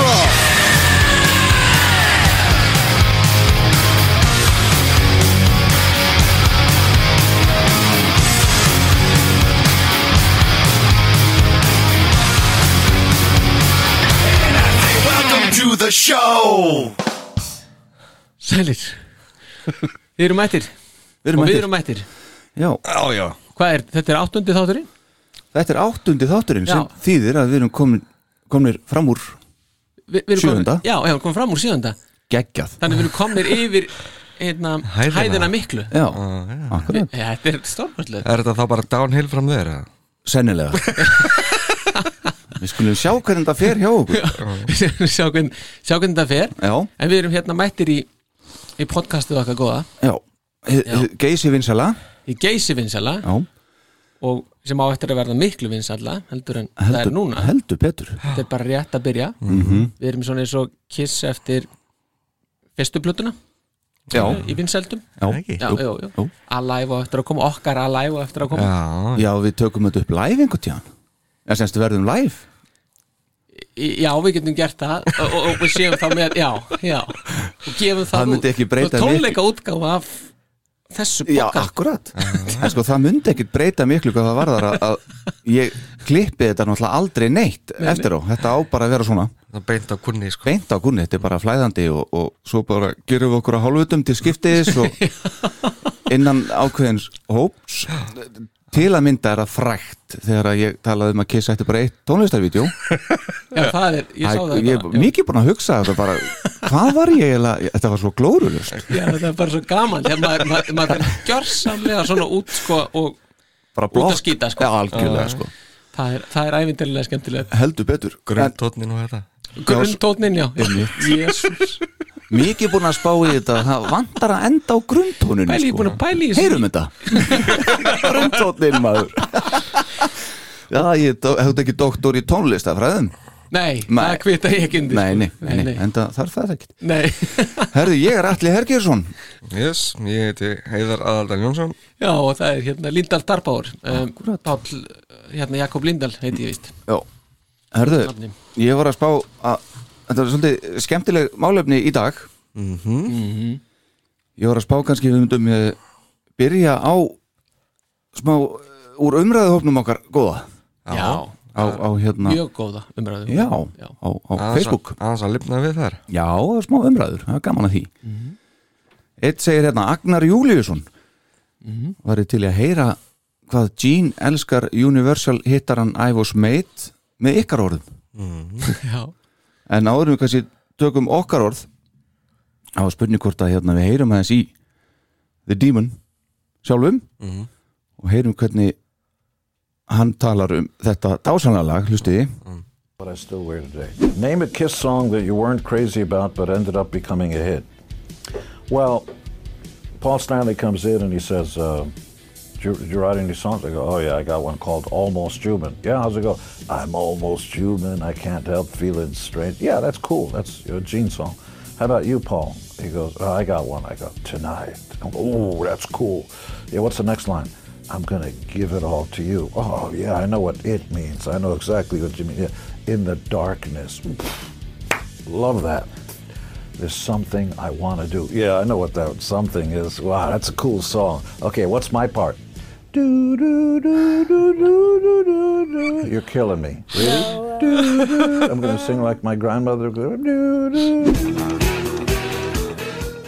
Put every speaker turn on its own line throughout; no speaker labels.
roll.
Welcome to the show
Sælir Við erum mættir
Við erum
Og við
mættir.
erum mættir
Já,
Já, já
Hvað er, þetta er áttundi þátturinn?
þetta er áttundi þátturinn sem
Já.
þýðir að við erum komin, komnir fram úr
Vi, við erum
Sjöunda.
komin, Já, já, komum fram úr sjöunda
geggjað
Þannig við erum komnir yfir hérna, hæðina.
Hæðina.
miklu
Já, akkurat,
Já, Þetta er stórmöldlega
Er þetta þá bara downhill fram þeir?
sennilega Við skulum sjá hvernig þetta fer hjá okkur
sjá, hvern, sjá hvernig þetta fer
Já,
En við erum hérna mættir í, í podcastið okkar góða
já, Hið-
Já.
hið Geysi vinsala
Í geysi vinsala
Já,
Og sem á eftir að verða miklu vinsala Heldur en það er
heldur, Mhm.
núna
heldur betur
Þetta er bara rétt að byrja Við erum svona eins og kiss eftir Fyrstu plötuna
Já,
í vinseldum
já,
já, já, já.
jú.
Alive og eftir að koma, okkar Alive og eftir að koma
Já,
já, við tökum þetta upp live einhvern tíðan Já, semst við verðum live
Í- Já, við getum gert það og, og, og við séum þá með, já, já og gefum það,
Það myndi ekki breyta
og tónleika útgáfa af þessu
Já,
bóka
akkurat En sko, það myndi ekkit breyta miklu hvað það varðar að, að ég klippi þetta náttúrulega aldrei neitt eftir á, þetta á bara að vera svona
það beint á kunni sko
beint á gunni, þetta er bara flæðandi og, og svo bara gerum við okkur að hálfutum til skiptiðis og innan ákveðins hóps til að mynda er það frækt þegar að ég talaði um að kissa eftir bara eitt tónlistarvídjó
Já, það er, ég sá það hérna.
ég er
bara, já.
mikið búin að hugsa þetta bara hvað var ég eiginlega, þetta var svo glórulust
já, það er bara svo gaman þegar maður, maður, maður er gjörsamlega svona út sko og
bara
út
blokk,
að skýta sko
já, algjörlega sko
það er, það er ævindirlega skemmtilegt
heldur betur, en
Grundtótnin og þetta
Grunntótnin, já Jésús,
mikið búin að spá í þetta það vantar að enda á grundtónunni
Pæli, ég er búin að pæla í þessu.
sko. heyrum þetta grundtónin maður já, ég er þetta ekki doktor í tónlistafræðum
nei, það kvita ég ekki undir
nei, nei,
sko.
nei, nei, enda þarf það ekkert
nei.
herðu, ég er Atli Hergjursson
Yes, ég heiti Heiðar Aðaldan Jónsson
Já, og það er hérna Lindal Darbáur um, Páll, hérna Jakob Lindal heiti ég vist
já, herðu,
Nafni.
ég var að spá að þetta er svolítið skemmtileg málefni í dag Mhm. ég var að spá kannski við myndum eh, byrja á smá eh, úr umræðuhopnum okkar góða
Já,
á, á hérna
mjög góða um umræðu
Já,
já,
á, á Facebook
Aðans að lifna við þar
Já, það er smá umræður, það er gaman að því Eitt segir hérna Agnar Júliusson Varði til í að heyra hvað Gene elskar Universal hittaran I was made með ykkar orðum
já.
En áðurum við kannski tökum okkar orð á spurning hvort að hérna við heyrum aðeins í The Demon sjálfum og heyrum hvernig hann talar um þetta dásanlega lag, hlustiði
But I still wear today. Name a Kiss song that you weren't crazy about but ended up becoming a hit. Well, Paul Stanley comes in and he says, uh, "Did you, did you write any songs?" I go, "Oh yeah, I got one called Almost Human." Yeah, how's it go? I'm almost human. I can't help feeling strange. Yeah, that's cool. That's a Gene song. How about you, Paul? He goes, oh, "I got one." I go, "Tonight." Oh, that's cool. Yeah, what's the next line? I'm gonna give it all to you. Oh yeah, I know what it means. I know exactly what you mean. Yeah. In the darkness. Love that. There's something I want to do. Yeah, I know what that something is. Wow, that's a cool song. Okay, what's my part? Do do do do do do do do. You're killing me. Really? Do, do. I'm gonna sing like my grandmother. Do, do.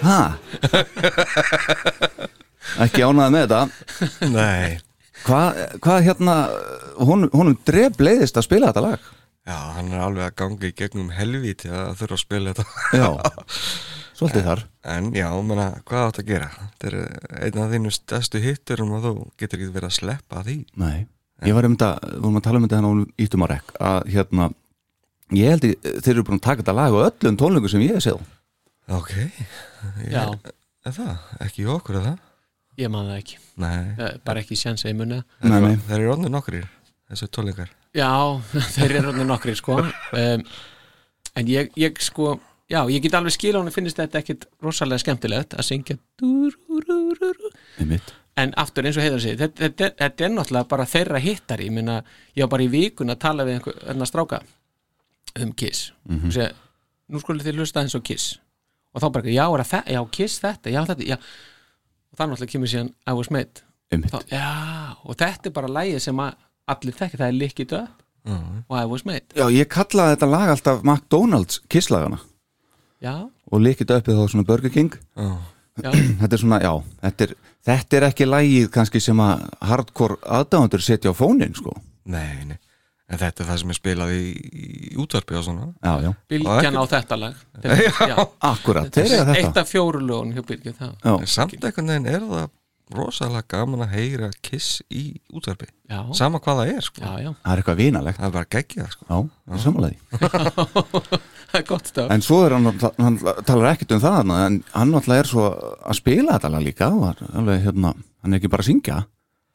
Ha? ekki ánæða með þetta
Nei
Hvað hva hérna honum, honum dref leiðist að spila þetta lag
Já, hann er alveg að ganga í gegnum helvíti að þurfa að spila þetta
Já, svolítið þar
En já, menna, hvað átt að gera? Þetta er einn af þínu stærstu hitturum og þú getur ekki verið að sleppa því
Nei, Ég var um þetta, vorum að tala um þetta hann og íttum að rekk að hérna, ég held ég, þeir eru búin að taka þetta lag á öllum tónleikum sem ég hef séð
Ok,
já,
en það, ekki hjá okkur er það
ég man það ekki
Nei,
Eh, bara ekki sjans að ég munna
Nei, nei.
þeir eru orðnir nokkrir þessu tólingar
Já, þeir eru orðin nokkri sko um, En ég, ég sko Já, ég get alveg skila hún að finnist þetta ekkit rosalega skemmtilegt að syngja dúrúrúrú.
Einmitt.
en aftur eins og heiðar sig þetta, þetta, er- þetta er náttúrulega bara þeirra hittari ég meina, ég var bara í vikun að tala við einhver enn stráka um Kiss mm -hmm. Sér, nú skulle þið hlusta eins og Kiss og þá bara, já, er það, já, Kiss þetta já, þetta, já og það náttúrulega kemur síðan I was made
Einmitt.
þá, já, og þetta er bara lægið sem að allir þekki, það er líkið upp og I was made
Já, ég kallaði þetta lag alltaf McDonalds kisslagana
já,
og líkit uppið þá svona Burger King
já,
þetta er svona, já, þetta er, þetta er ekki lægið kannski sem að hardcore aðdáðandur setja á fónin, sko
Nei, nei, en þetta er það sem er spilað í, í útvarpi og svona
Já, já,
bylgjan á þetta lag já,
akkurat, þeir eru
eitt
þetta
af fjórulegun hjá bylgju það
En
já,
samt einhvern veginn er það rosalega gaman að heyra kiss í útvarpi
já,
sama hvað það er, sko
já, já,
það er eitthvað vinalegt
það er bara geggjað, sko
Já, það er samanlega
það er gott stöf
En svo er hann, hann talar ekkert um það þarna, en hann alltaf er svo að spila þetta lag líka og hann er alveg, hérna, hann er ekki bara að syngja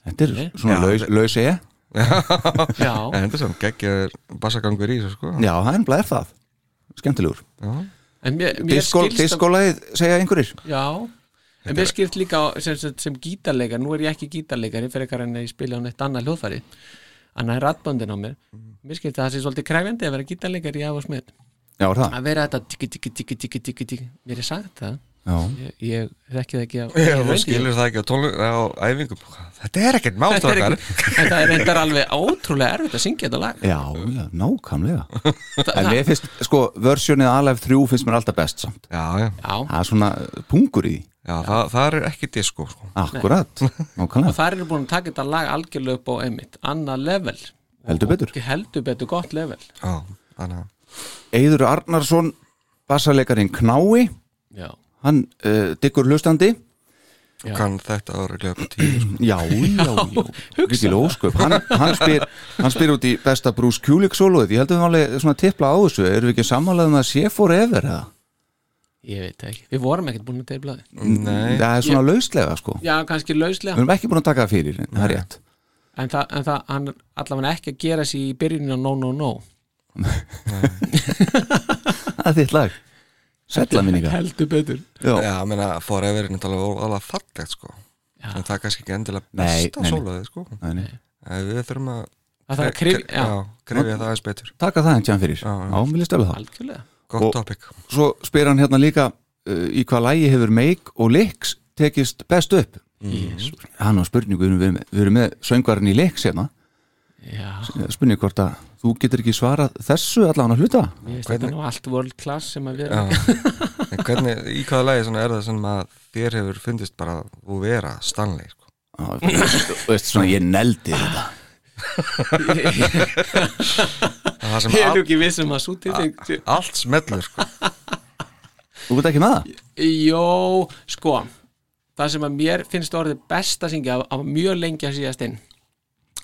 Þetta er
Nei.
svona
Já,
laus, laus e
já,
en þetta er samt geggjaður bassagangur í þessu, sko
Já, það er bara er það, skemmtilegur
en mér, mér
Diskó-
skilst að-
Diskólaðið segja einhverjir
já En mér skýrt líka á- sem, sem, sem gítarleikar, nú er ég ekki gítarleikar, ég fyrir en að ég spila á neitt annað hljóðfæri, annað er ratböndin á mér.
Mhm.
Mér skýrt að það sé svolítið kræfjandi að vera gítarleikar í af og smið.
Já, er það?
Að vera þetta tiki, tiki, tiki, tiki, tiki, tiki, mér er sagt það.
Já,
Ég, ég þekki það ekki á...
Já,
ég
þú
reyndi-
skilur það ekki á, tólu, á æfingum Þetta er ekkert
Þetta er
mátrakar
ekki, en það er reyndar alveg ótrúlega erfitt að syngja þetta lag.
já, já nákvæmlega
Þa,
En
það,
mér finnst, sko, versjónið Alive 3 finnst mér alltaf best samt
Já, já,
já,
Það er svona pungur í því
já það, það er ekki disco, sko
Akkurat, nákvæmlega
og þær eru búin að taka þetta lag algjörlega upp á einmitt, annað level.
Heldur betur.
Og Heldur betur gott level.
Já, þannig að
Eidur Arnarsson, bassarleikarinn Knái
Já,
Hann uh, diggur hlustandi
Já.
kann þetta ára glöku tíu, sko
Já, já, já, mikil ósköp hann, hann, spyr, hann spyr út í besta Bruce Kulik soloðið, ég heldur við höfum alveg svona tipla á þessu, erum við ekki sammálaðum að sé fór efer eða?
ég veit það ekki. Við vorum ekkert búin að teipla það.
Nei,
Það er svona lauslega sko,
Já, kannski
við
lauslega
erum ekki búin að taka það fyrir, en það er rétt
en það, en það hann er allavega ekki að gera sér í byrjuninu á no no no
Það er þitt lag, sætla minninga
heldur betur
Já,
já, ég meina, forever er náttúrulega alveg fallegt, sko
Já.
en það er kannski ekki endilega
Nei,
besta
nei, nei.
sólaðið, sko
Nei, nei.
En Við þurfum að
það þarf að krifja,
kri-
já,
já, krifja það aðeins betur
taka það en tján fyrir,
Já, já.
já, mér líst alveg það
algjörlega
Gott
Og-
topic
svo spyr hann hérna líka uh, í hvað lægi hefur Make og Licks tekist best upp
Jesús.
hann á spurningu, við erum, við erum, við erum með söngvarinn í Licks hérna,
já,
spurning hvort að þú getur ekki svarað þessu allan að hluta
mér finnst
Hvernig-
þetta nú allt world class sem að við
Já.
erum
En hvernig, í hvaða lagi svona er það sem að þér hefur fundist bara þú vera Stanley sko?
Já, þú veist svona, ég neldi þetta
Það það sem
ég er
all,
nú ekki vissum að svo til þig
allt smellur sko.
þú veit ekki með það?
jó, sko það sem að mér finnst orðið best að syngja af, af mjög lengi að síðast inn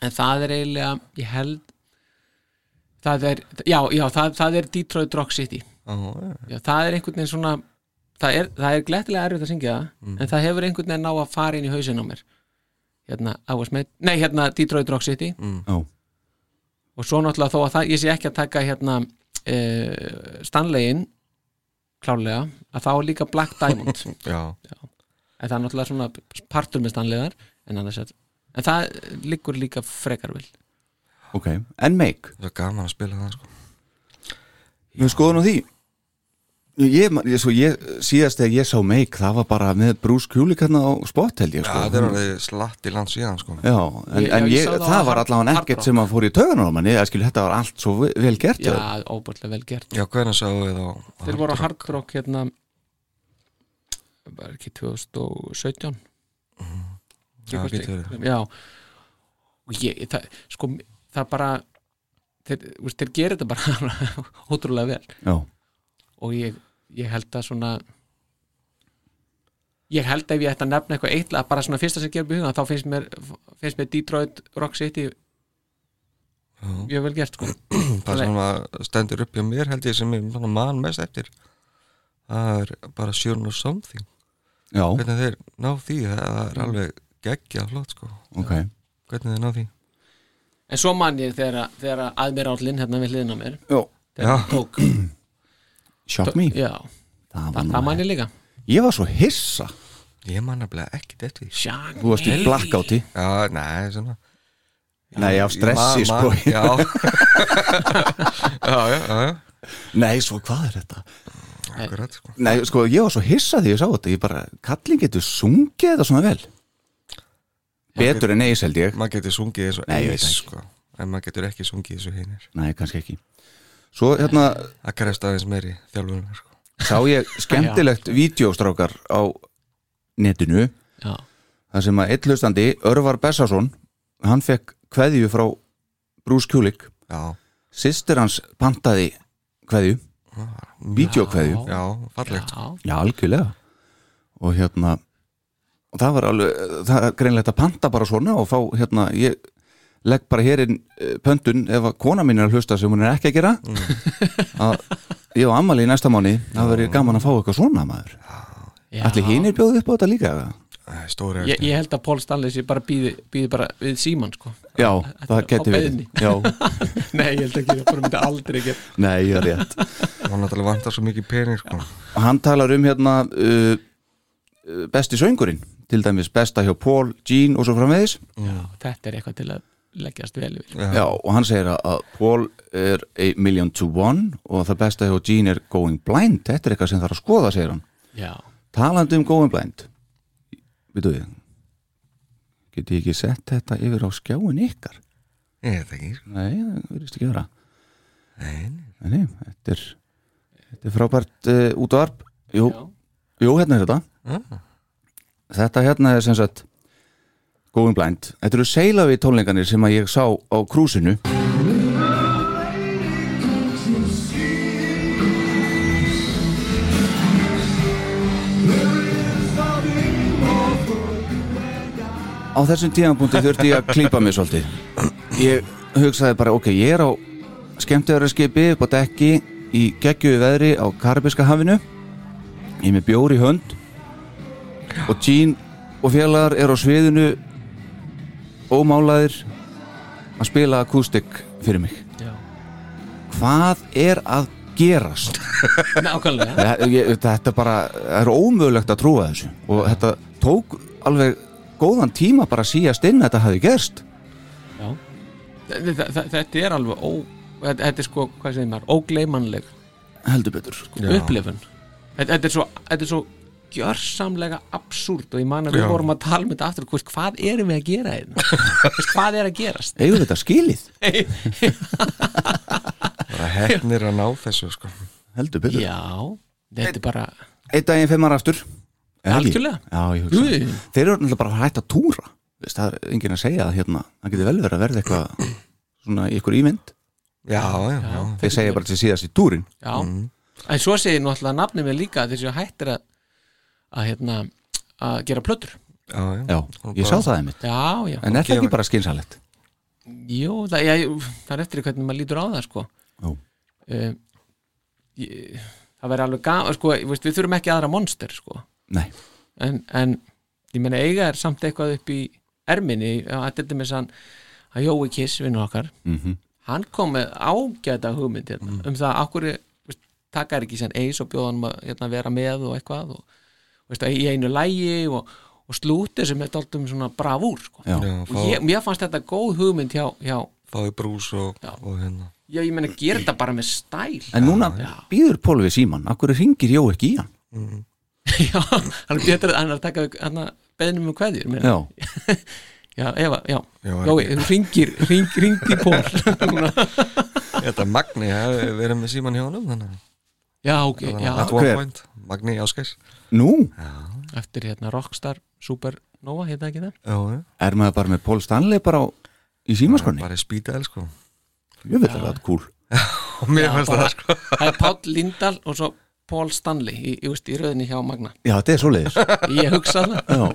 en það er eiginlega, ég held það er, já, já það, það er Detroit Rock City
Já, já.
Já, það er einhvern veginn svona það er, það er glettilega erfitt að syngja það en það hefur einhvern veginn ná að fara inn í hausinn á mér hérna, I was made, nei hérna Detroit Rock City
Já.
og svo náttúrulega þó að það, ég sé ekki að taka hérna uh, Stanleyin klálega, að þá er líka Black Diamond en
Já.
það er náttúrulega svona partur með Stanleyar en annars er en það liggur líka frekar vel
ok, en Make,
Það er gaman að spila það sko.
við skoðum á því ég, man- ég, svo, ég, síðast þegar ég sá Make það var bara með Bruce Kulik hérna á spot held ég
Já,
sko.
það er alveg slatt í land síðan sko.
Já, en,
Ég-
en
já, ég
ég,
sá það á
það var
Hard- Hard
allavega ekkert
Rock.
sem að fór í tauganum á manni, eða skilur þetta var allt svo ve- vel gert eða?
já, óbúrlega vel gert
Já, hvernig sáu við þá
þeir voru á Hard Rock hérna var ekki 2017
Já, getur verið.
já og ég, það, sko það bara þeir, þú veist, þeir gerir þetta bara ótrúlega vel
Já,
og ég, ég held að svona ég held að ef ég ætti að nefna eitthvað eitt lag, bara svona fyrsta sem gerum við hugan þá finnst mér, finnst mér Detroit Rock City mjög vel gert sko.
það sem að stendur upp hjá mér held ég sem ég svona man mest eftir það er bara Sjörn og Something
Já,
hvernig þeir ná því, það
Mm.
er alveg geggja flott sko,
ok
hvernig þeir ná því
en svo man ég þegar, að- þegar að aðmirállinn hérna við hliðin á mér
Já,
þegar
Já.
hann tók,
shock me
já,
Það
það,
var
það
nú-
man ég líka
Ég var svo hissa
ég man nefnilega ekkert eftir því
Sjá,
Þú varst í
nei.
blackouti
já, nei, svona
Nei, af
Man-
stressi
man-
sko
já já, já, já, já,
Nei, svo hvað er þetta?
akkurat sko
Nei, sko, ég var svo hissa því ég sá þetta Ég bara, kallin getur sungið þetta svona vel Betur en eis held ég
maður getur sungið þessu
Nei, ég veit
eins
það ekki.
sko en maður getur ekki sungið þessu hinnir
Nei, kannski ekki Svo hérna
það krefst aðeins meiri þjálfunar sko
sá ég skemmtilegt vídeóstrákar á netinu
já,
þar sem að eitt hlustandi, Örvar Bessarsson hann fekk kveðju frá Bruce Kulik,
já,
sýstir hans pantaði kveðju, vídeókveðju
já, fallegt sko.
já,
Já, algjörlega og hérna og það var alveg, það er greinlegt að panta bara svona og fá hérna, ég legg bara hér inn eh, pöntun ef að kona mín er að hlusta sem hún er ekki að gera
Mm.
að ég á ammali í næsta mánu það verður gaman að fá eitthvað svona maður
já.
Allir hinir bjóðu upp á þetta líka eða?
Æ, stóri
ég, ég held að Paul Stanley sé bara býði, býði bara við síman sko.
Já,
Þetta er
það
á
geti verið
beiðni.
Já,
nei, ég held ekki, það bara myndi aldrei ekki
nei, ég er rétt
hún náttúrulega vantar svo mikið pening sko
hann talar um hérna uh, uh, besti söngurinn til dæmis besta hjá Paul, Gene og svo framvegis
já, þetta er eitthvað til að leggjast vel yfir
Já, og hann segir að, að Paul er a million to one og það besta hjá Gene er going blind þetta er eitthvað sem þarf að skoða, segir hann
já,
talandi um going blind veitu við get ég ekki sett þetta yfir á skjáin ykkar
ég veit ekki sko
nei, það verðist ekki að vera
Nei,
nei, nei, þetta er, þetta er frábært uh, útvarp jú,
já.
Jú, hérna er þetta
Ah.
Þetta hérna er sem sagt Going Blind Þetta eru seilafi tónleikanir sem að ég sá á krúsinu Á þessum tíðanbúndi þurfti ég að klípa mig svolítið Ég hugsaði bara, ok, ég er á skemmtöðarskipi upp á dekki í geggjöðu veðri á Karibiska hafinu ég er með bjór í hönd og Jean og félagar er á sviðinu ómálaðir að spila akústik fyrir mig
já.
hvað er að gerast
nákvæmlega
Þe- ég- þetta bara það er ómögulegt að trúa þessu og þetta tók alveg góðan tíma bara að síast inn að þetta hafi gerst
Já. Þe- þe- þe- Þetta er alveg ó, þetta, þetta er sko, hvað segir maður, ógleymanleg
heldur betur sko.
upplifun þetta, þetta er svo, þetta er svo gjörsamlega absúrt og ég man að við
Já.
vorum að tala um þetta aftur hvist, hvað erum við að gera hérna Þú veist, hvað er að gerast
eigum við þetta skilið
bara hefnir að ná þessu sko
heldur betur
já, þetta er bara
einn daginn fimm ára aftur Elgi.
Algjörlega.
Já, ég hugsa
Jú.
það. Þeir eru náttúrulega bara hægt að túra Veist, Það er enginn að segja að hérna Það getur vel verið að verða eitthvað Svona í ykkur ímynd
já, já, já,
Þeir segja bara til síðast í túrin
já, en svo segir náttúrulega nafnið mér líka að þessi hættir að að hérna að gera plötur
já, já.
Já, ég sá það einmitt
já, já,
En er það ekki bara skynsalegt?
jú, það, já, jú, það er eftir því hvernig maður lítur á það sko
Já.
um, ég, það verður alveg gaman sko, ég veist, við þurfum ekki aðra monster sko.
Nei,
en, en ég meina eiga er samt eitthvað upp í erminni að þetta með sann að Jói Kiss vinnur okkar
Mhm.
hann kom með ágæta hugmynd hérna, um það að okkur taka er ekki sem eis og bjóða hann að hérna, vera með og eitthvað og, veist, í einu lægi og, og slúti sem er dáltum svona bravúr sko.
já,
já,
og
fá,
ég, mér fannst þetta góð hugmynd hjá, hjá
fáðu brús og, og hérna
já, ég meina gera þetta bara með stæl
En núna býður Pólvi síman Akkur ringir Jó ekki í hann
Já, hann er betur hann er að taka hann að beðnum um kveðjur meina.
Já,
já, Eva, já,
Já,
já Jói, þú ringir, ring, ringdi Pól Núna.
þetta Magni, ja, við erum með síman hjá honum þannig að
Já, ok,
það
já,
er at one
hver?
point. Magni Áskæs
nú
eftir hérna Rockstar Supernova, heita ekki það
já, já,
er maður bara með Pól Stanley bara á, í símaskonni
bara í spýtaðel sko
Ég veit að það er cool
og mér
Já,
fannst
bara-
það sko
Það er Páll Lindahl og svo Pól Stanley í, í, veist, í rauðinni hjá Magna
Já, þetta er svoleiðis
Ég hugsa það
Já.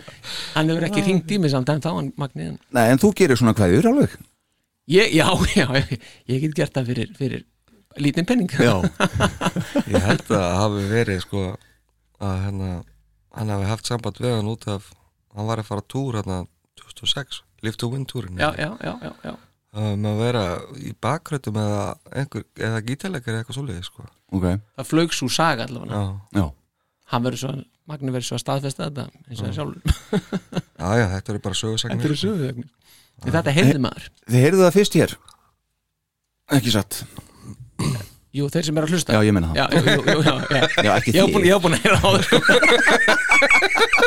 Hann hefur ekki ringt í mig samt en þá hann Magniðin
Nei, en þú gerir svona kveður alveg
ég, já, já, ég, ég get gert það fyrir, fyrir lítinn penning
ég held að það hafi verið sko að hérna, hann hafi haft samband við hann út af hann var að fara á túr hérna 2006 Live to Win túrin
já, já, já, já, já.
um að vera í bakrötum eða einhver, eða gítarleikar eða eitthvað svoleiði sko
ok,
það flög svo saga allavega
já,
já,
hann verður svo, Magni verður svo að staðfesta þetta eins og hann sjálfur,
já, já þetta eru bara sögursagnir
þetta eru söguvögnir en þetta heyrði maður,
þið heyrðu það fyrst hér ekki satt,
jú, þeir sem eru að hlusta
já ég menna það
já, jú, jú, jú, já, já.
Já, ekki
ég var búin,
þið.
ég var búin að heyra á þessu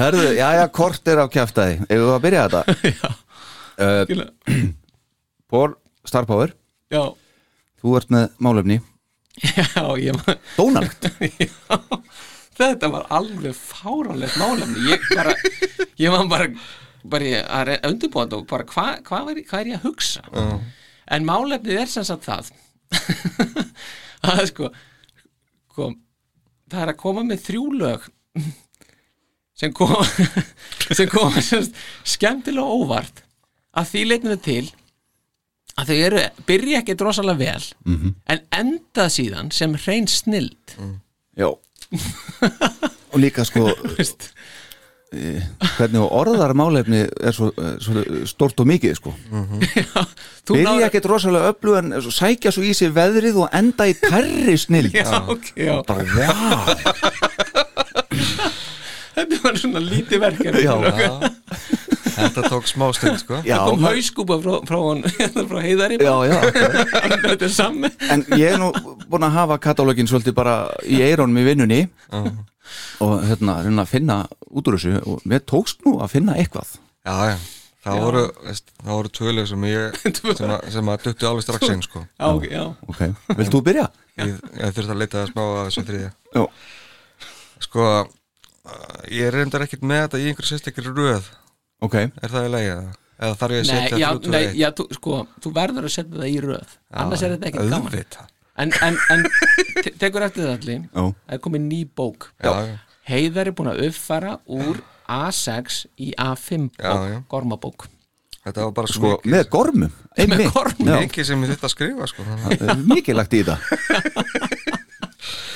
Herðu, já, já, kort er á kjæftæði Ef við að byrja þetta uh,
skilurðu.
Paul Star Power,
já,
þú ert með málefni
já, ég var
Dónalegt
Já, þetta var alveg fáránlegt málefni ég bara, ég var bara bara ég að re- að undirbúa þetta og bara hvað hva hva er, hva er ég að hugsa en málefnið er sem sagt það að sko kom, það er að koma með þrjú lög sem koma sem koma sem sagt skemmtilega á óvart að því leitinu til að þau eru, byrja ekki drosalega vel -hmm. en enda síðan sem hrein snild
Já Og líka sko
veist.
eh, Hvernig og orðar málefni er svo, eh, svo stort og mikið sko
Þú náður-
Byrja ekkert rosalega öflug en svo sækja svo í sig veðrið og enda í tærri snill
Já, ok, já,
Bara, já,
þetta var svona lítið verkefni
já,
Þetta
já,
þetta tók smá stund sko
já,
kom hauskúpa frá, frá, hon, frá heiðari
já, já ok.
Þetta er samme
en ég er nú búin að hafa katalógin svolítið bara í eirónum í vinnunni og hérna reyna að finna út úr þessu og mér tókst nú að finna eitthvað
já, já. Það, Voru, veist, það voru tvölu sem ég sem að, sem að duttu alveg strax einn sko
Já, ok, já,
ok, vilt þú byrja?
ég, ég þurfti að leita að smá að þessu þriðja
Já.
sko uh, ég er reyndar ekkert með þetta í einhver sérstakri röð
ok,
er það í lagi eða? eða þarf ég að
nei,
setja
já,
þrjú, tvö,
nei,
eitt?
já þú, sko, þú verður að setja það í röð annars er þetta ekkert gaman
auðvitað.
En, en, en te- tekur eftir það allir
Já.
Það er komið ný bók
Já, já.
Heiðar er búin að uppfara úr A6 í A5 bók,
Já, já.
gormabók
þetta var bara
sko
svo
með
mikið,
gormum
Með
einmitt.
gormum.
Já,
mikið sem ég þurfti að skrifa sko þannig að-
það er mikið lagt í þetta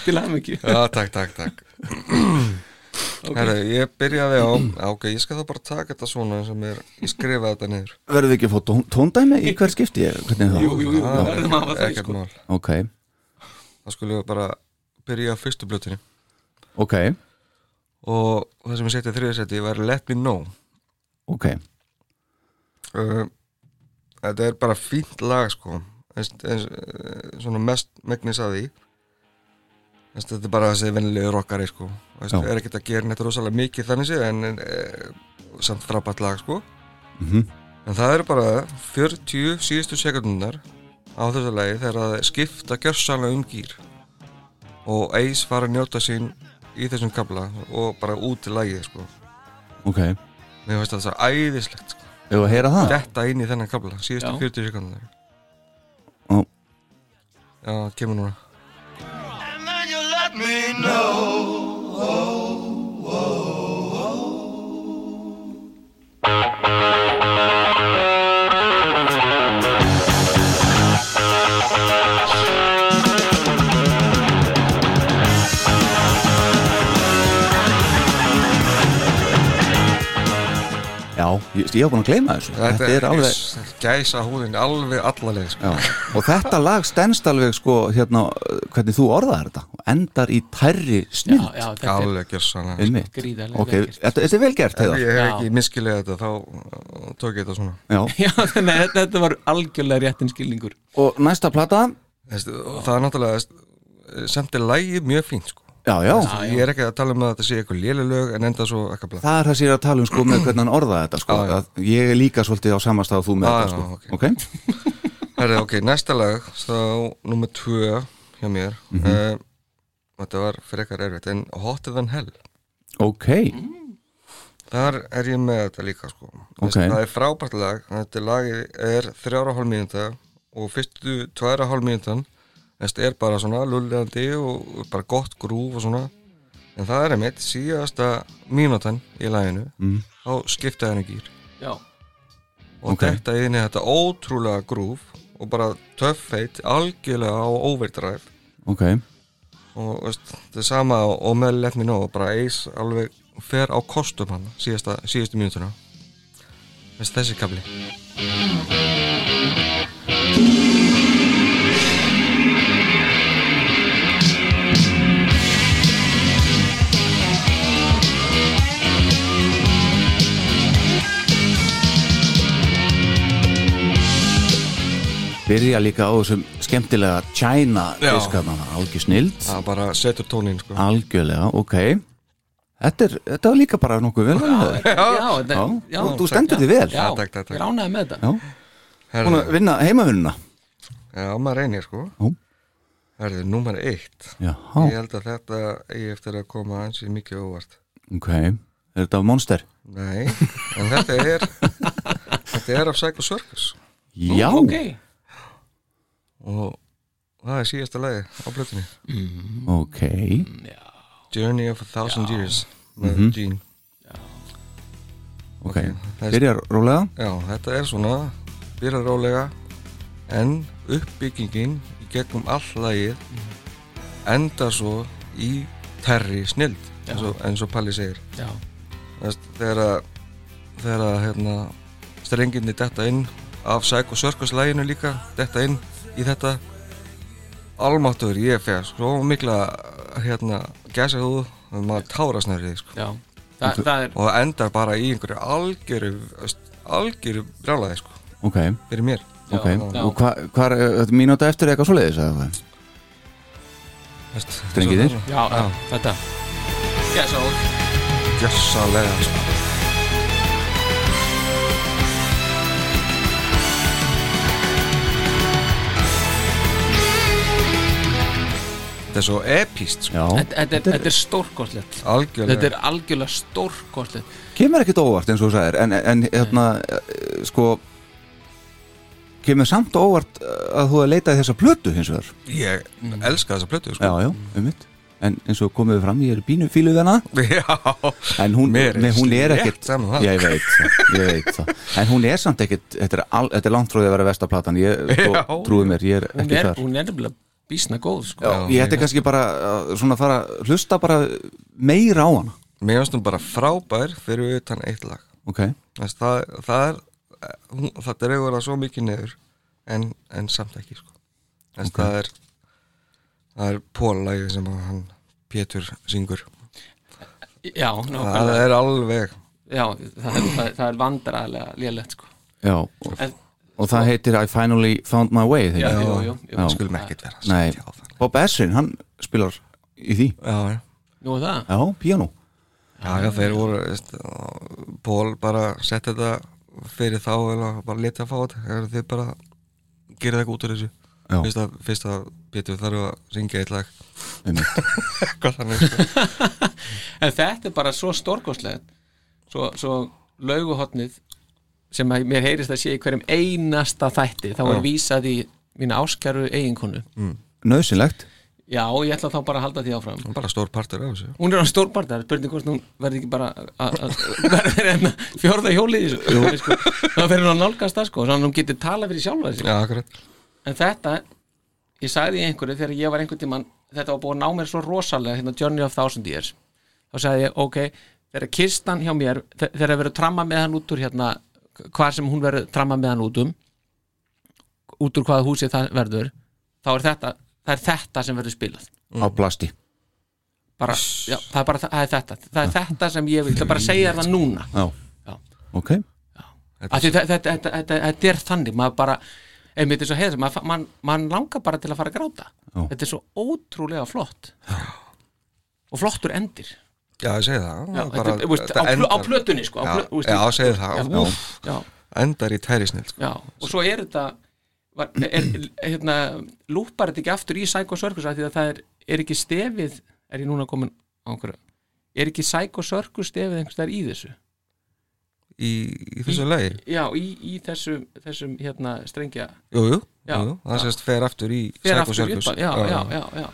Til aðeim ekki
já, takk, takk, takk Herra, ég byrjaði á, á ok, ég skal þá bara taka þetta svona eins og mér, ég skrifa þetta niður
verður við ekki að fá tón, tóndæmi í hver skipti hvernig er það?
Jú, jú, jú,
Já,
verðum að hafa það
Ah, ekkert
sko.
mál,
ok,
þá skulum við bara byrja á fyrstu blötinu
ok,
og það sem ég setja þriðasetti var Let Me Know
ok
uh, þetta er bara fínt lag sko eins, eins, eh, svona mest megnis að því Þess, þetta er bara þessi vennilegu rockari sko Þess,
Já.
er ekkert að gera neitt rosalega mikið þannig séð en e, samt frábært lag sko
Mhm.
en það eru bara 40 síðustu sekundunar á þessu lagi þegar það skipta gjörsanlega um gýr og Ace fara að njóta sín í þessum kabla og bara út í lagið sko
ok, ef
mér finnst það æðislegt sko
við að heyra það
detta inn í þennan kabla síðustu
Já.
40 sekundar
Ó.
Já, það kemur núna
já, ég, ég var búin að gleyma þessu þetta, er alveg
Gæsa húðin alveg allaleg sko.
Já. og þetta lag stendst alveg sko hérna, hvernig þú orðaðir þetta og endar í tærri
Já,
snill
já, þetta er
Alveg gersanlega sko.
einmitt,
gríðarlega
ok,
vel gert.
þetta þetta er vel gert
Ef
heiðar,
ég hef
Já.
ekki miskilega þetta þá uh, tók ég þetta svona
já,
Já, þannig að þetta var algjörlega réttin skilningur
og næsta plata
Þess, og það er náttúrulega þess- samt er lægið mjög fínt sko.
já, já,
ég er ekki að tala um að þetta sé eitthvað lélulög en enda svo ekki að blá
það er það sér að tala um sko með hvernig hann orðaði þetta sko,
Já, já.
að ég er líka svolítið á samastað og þú með
Já,
þetta
já,
sko, ok,
Herri, ok, næsta lag þá nummer 2 hjá mér mm
Mhm.
þetta var frekar erfitt en Hotter Than Hell
ok
Þar er ég með þetta líka sko
Ok.
Það er frábært lag Þetta lag er þrjára hálf mínúta og fyrstu tværa hálf mínútan Þetta er bara svona lulleðandi og bara gott grúf og svona En það er einmitt síðasta mínútan í laginu
Mm.
þá skiptaði henni gýr
Já,
og
Ok.
þetta inni þetta ótrúlega grúf og bara töffeit algjörlega á overdrive
ok,
og veist, það er sama og með Let Me Know bara Ace alveg fer á kostum hann síðasta, síðustu mínútuna Veist, þessi kafli
byrja líka á þessum skemmtilega China
Já.
diskarna, algjör snild
það bara setur tónin sko.
algjörlega, ok þetta, er, þetta var líka bara nokkuð vel já,
já, þetta-
já,
já,
þú- þú stendur þig vel.
já,
Já, takk, takk, takk.
ég ránaði með þetta
já. hún að
Herðu,
vinna heimavinnuna
já, maður reynir sko
Jú.
Herðu, númer eitt
já,
Ég held að þetta eigi eftir að koma ansi mikið óvart
ok er þetta af Monster?
Nei, en þetta er þetta er af Psycho Circus
já,
ok,
og það er síðasta lagi á blötunni
Mm, ok
Journey of a Thousand Years með Gene
ok,
það er-
byrjar rólega
Já, þetta er svona byrjar rólega en uppbyggingin í gegnum all lagið enda svo í terri snild eins og, eins og Palli segir
já,
Þess, þegar að þegar að hérna, strenginni detta inn af Psycho Circus læginu líka detta inn í þetta almáttur ég feg svo mikla hérna um gæsa þú maður tárast nærið því, sko.
já Þa, það er,
og það endar bara í einhverju algjöru veist, algjöru brálaði sko,
ok,
fyrir mér
ok
já.
og hva, hvar, er- þetta er mínúta eftir eða eitthvað svoleiðis eða hvað?
Veist,
Strengirnir?
svo-
já, já, þetta já, svo,
Gjössalega sko. Þetta er svo epíst sko.
já,
þetta þetta er, þetta er stórkostlegt
Algjörlega
þetta er algjörlega stórkostlegt
kemur ekkert óvart eins og þú sagðir en, en hérna, eh, sko kemur samt óvart eh, að þú að leita þessa plötu hins vegar
Ég elska þessa plötu sko.
já, já, um mitt en eins og komið fram, ég er bínu fíluð hana
Já
en hún,
Mér er
nei, hún er
slétt
ekkit
saman það.
Já, ég veit, það, ég veit það en hún er samt ekkit, þetta er, al, þetta er langt frá því að vera vestaplatan, ég
Já.
sko, trúið mér ég er
hún
ekki
er,
þar
hún er nefnilega bísna góð sko.
já, ég ætti kannski bara að svona fara að hlusta bara meira á hana
Mér finnst hún bara frábær fyrir utan eitt lag
ok,
Þess, það, það er hún, það dregur það svo mikið neður en, en samt ekki sko. Þess, það er það er pólægið sem að hann Pétur syngur
já,
það
nákvæmlega
er alveg
já, það er, það er- það er vandræðilega lélegt sko.
já og,
En-
og það heitir I finally found my way
já,
þegar
jú, jú, jú.
Já.
skulum ekkert vera að
Nei,
setja á það.
Bob Essin, hann spilar í því
já, já.
nú er það
já, piano
já, já, þeir voru veist, Pól bara sett þetta fyrir þá eða bara letið að fá þetta þegar þið bara gerir það út úr þessu
Já.
fyrst að, fyrst að Pétur þarf að ringja eitt lag
einmitt.
hvað þannig sko.
En þetta er bara svo stórkostlegt svo, svo lauguhotnið sem að mér heyrist að sé í hverjum einasta þætti þá er vísað í mína áskjaru eiginkonu
nöðsynlegt
Já, ég ætla þá bara að halda því áfram
bara stór partur af þessu
Hún er á stórbartar, spurning hvort hún verði ekki bara að- að- verði hérna fjórða hjólið í þessu sko. þá fer hún að nálgast það sko, þannig að hún getur talað fyrir sjálfa þessu
já, akkurat
en þetta, ég sagði í einhverju þegar ég var einhvern tímann, þetta var búið að ná mér svo rosalega, hérna Journey of Thousand Years þá sagði ég, ok, þegar kistan hjá mér, þe- þegar verður tramma með hann út úr hérna, hvar sem hún verður tramma með hann út um út úr hvaða húsi það verður þá er þetta, það er þetta sem verður spilað
á plasti
bara, já, það er bara það er þetta það er þetta sem ég vil, það bara að segja þér það núna
já,
Já.
ok
Af því þetta, þetta, þetta, þetta, þetta er þannig maður bara, einmitt eins og heiðar maður man, man langar bara til að fara að gráta
Já.
þetta er svo ótrúlega flott og flottur endir
já,
já,
ég segi það
þetta,
bara,
bara, veist, á, plö, á plötunni sko, á
já,
plö, veist,
já, segi það
já,
já.
úff, já,
endar í tærisnill sko.
já, og svo er þetta var, er, hérna, lúpar þetta ekki aftur í Psycho Circus af því að það er, er ekki stefið er ég núna komin á einhverju er ekki Psycho Circus stefið einhvers þar í þessu
í, í þessu lagi
já, í, í þessum, þessum hérna, strengja
jú, jú,
Já.
jú, jú. það sést fer aftur í
fer
Psycho
aftur upp
Circus.
að, já, já, já, já,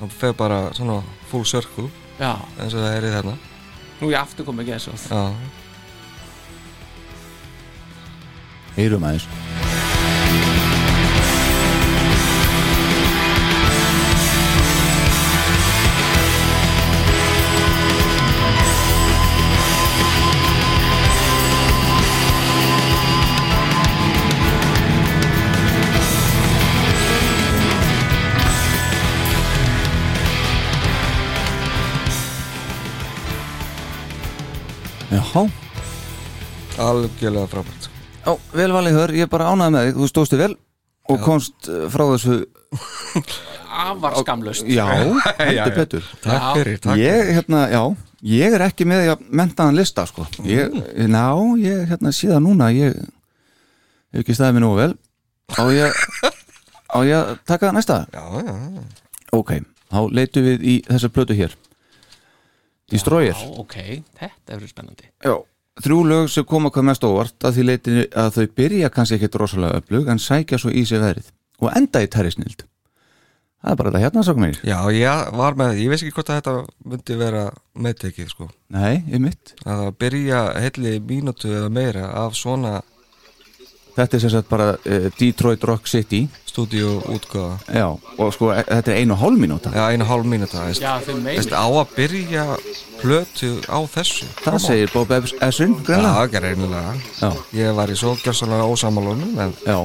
það fer bara svona full circle
já, já.
eins og það er í þarna
nú er ég aftur komið ekki þessu
já.
heyrum aðeins Jaha,
algjörlega frábært
Já, vel valið hör, ég er bara ánaði með þig, þú stóðst þig vel og komst eh, frá þessu
afar skamlust
Já, heldur betur
Takk fyrir, takk
Ég, hérna, já, ég er ekki með að mentaðan lista, sko ég, Ná, ég, hérna, síðan núna ég hef ekki staðið mér nú vel Á ég, á ég að taka næsta
Já, já, já.
Ok, þá leitum við í þessa plötu hér Destroyer
Já, ok, þetta er spennandi
Já, þrjú lög sem koma hvað mest á óvart að því leitinu að þau byrja kannski ekkit rosalega öflug en sækja svo í sig verið og enda í tæri snild Það er bara þetta hérna, sákum mér
já, ég var með því, ég veist ekki hvort að þetta myndi vera meðtekið sko
Nei, ég mitt
að byrja heilli mínútu eða meira af svona
Þetta er sem sagt bara uh, Detroit Rock City
stúdíu útgöða
Já, og sko e- þetta er einu og hálf mínúta
Já, einu hálf mínúta, veist
Já, þau
Veist,
meina
á að byrja plötu á þessu
Það segir Bob Essun,
Já,
greinlega
ekki reynilega
Já.
Ég var í svo gjörsanlega ósamálunum en
Já,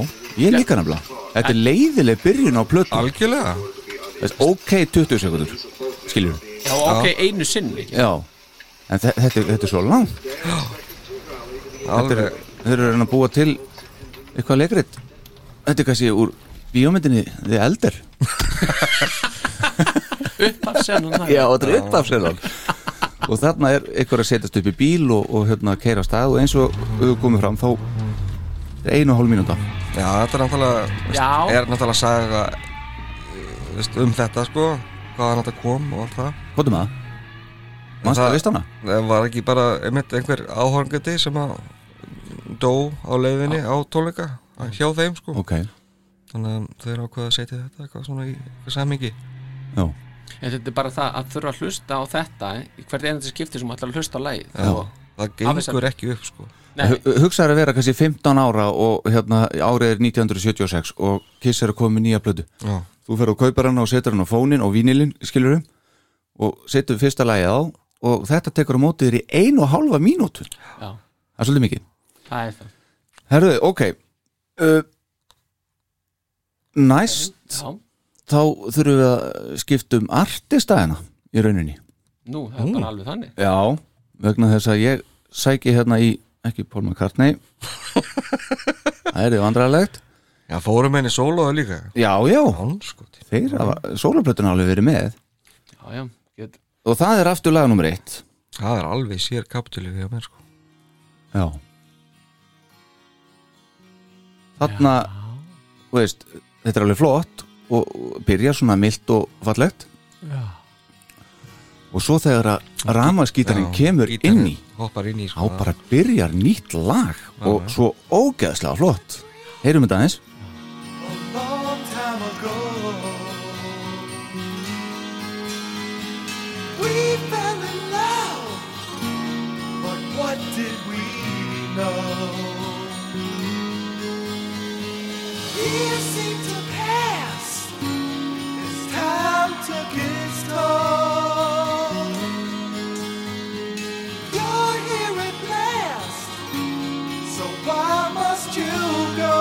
ég líka nefnilega Þetta er leiðileg byrjun á plötu
algjörlega
Veist, Ok, 20 sekundur Skiljum
Já, ok, einu sinni
Já, en þe- þetta, er- þetta er svo langt
alveg,
Þeir eru að reyna að búa til eitthvað leikrit Þetta er kannski úr bíómyndinni The Elder
Upphafsennan
Já, þetta er uppafsæðan Og þarna er eitthvað að setjast upp í bíl og, og hérna keira af stað og eins og við höfum komið fram þá er einu og hálf mínúta
já, þetta er náttúrulega veist,
Já.
er náttúrulega saga eh, veist, um þetta sko hvaðan þetta kom og allt það
Kvotum að Manstu
Það-
að listana?
Það var ekki bara einmitt einhver áhorgandi sem að dó á leiðinni á tónleika hjá þeim sko
Ok, já
þannig að þau eru ákveða að setja þetta eitthvað svona í eitthvað samingi
En þetta er bara það að þurfa að hlusta á þetta í hvert einandi skipti sem ætlar að hlusta á lagið Og-
það
Aðeins að-
gengur ekki upp sko
Nei,
Hugsaður að vera kannski 15 ára og hérna árið er 1976 og Kiss er að koma með nýja blödu
já,
þú fer og kaupar hana og setur hana á fónin og vínilinn, skilur og setur fyrsta lagið á og þetta tekur á móti þér í einu og hálfa mínútu það
já,
er svolítið mikið
það er það
Herðu, ok uh, Næst
Já,
þá þurfum við að skipta um artistæðina í rauninni
nú, það er bara alveg þannig
Já, vegna þess að ég sæki hérna í, ekki Paul McCartney Það er þið vandrarlegt
já fórum henni sólóðu líka
Já, já,
hann sko til
þeir hafa sólaplötuna alveg verið með
Já, já, get,
og það er aftur laga nummer eitt
það er alveg sér kapitúli hjá mér sko
Já Þarna þú veist, Þetta er alveg flott og og byrjar svona milt og fallegt
já.
og svo þegar að ramaskítarinn
Já,
kemur
gítarinn
inn í
hoppar inn í
þá
sko
bara byrjar nýtt lag og svo ógeðslega flott Heyrum þetta aðeins
We fell in love, but what did we know? Years seem to pass, as time took its toll. You're here at last, so why must you go?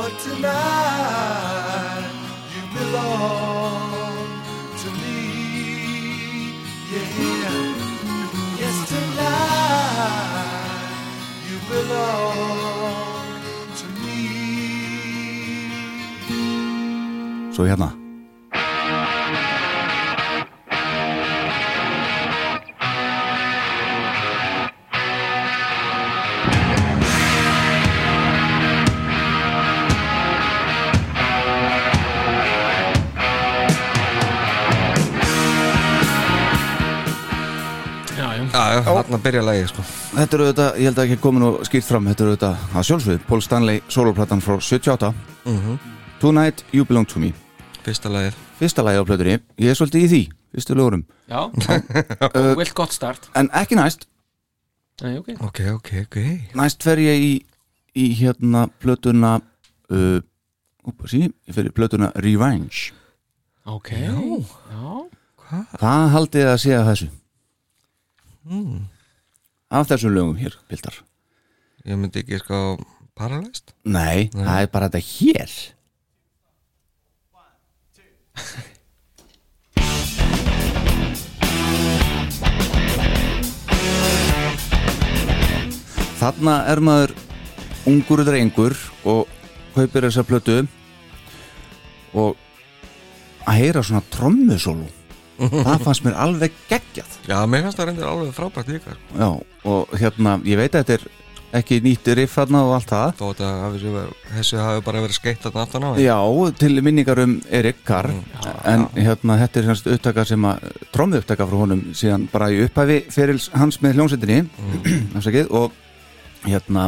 But tonight you belong to me. Yeah. Yes, tonight you belong to me.
Svo hérna
já, já.
já, já, þarna byrja lagi sko
Þetta eru auðvitað, ég held að ekki komin nú skýrt fram Þetta eru auðvitað að sjálfsvið Paul Stanley soloplatan frá 78 Tonight You Belong To Me
fyrsta lagið
Fyrsta lagi á plötunni, ég er svolítið í því Fyrstu lögurum
já. Og Vilt gott start
En ekki næst
Nei, ok
Ok, ok, ok
næst fer ég í, í hérna plötuna uh, úpa, sí, ég fer í plötuna Revenge
Ok Já
það haldið að sé að þessu af þessum lögum hér, Pildar
Ég myndi ekki sko paralyzed
nei, það er bara þetta hér Þarna er maður ungur drengur og kaupir þessa plötu og að heyra svona trommusólu það fannst mér alveg geggjað
Já, mér finnst það reyndir alveg frábært líka sko.
Já, og hérna, ég veit að þetta er ekki nýtt riff þarna og allt það
Þó þetta hafi sér verið Þessi hafi bara verið skeitt að aftan á þeim.
Já, til minningar um Erik Carr en hérna, þetta er semst upptaka sem að trómið upptaka frá honum síðan bara í upphæfi ferils hans með hljómsveitinni afsakið, og hérna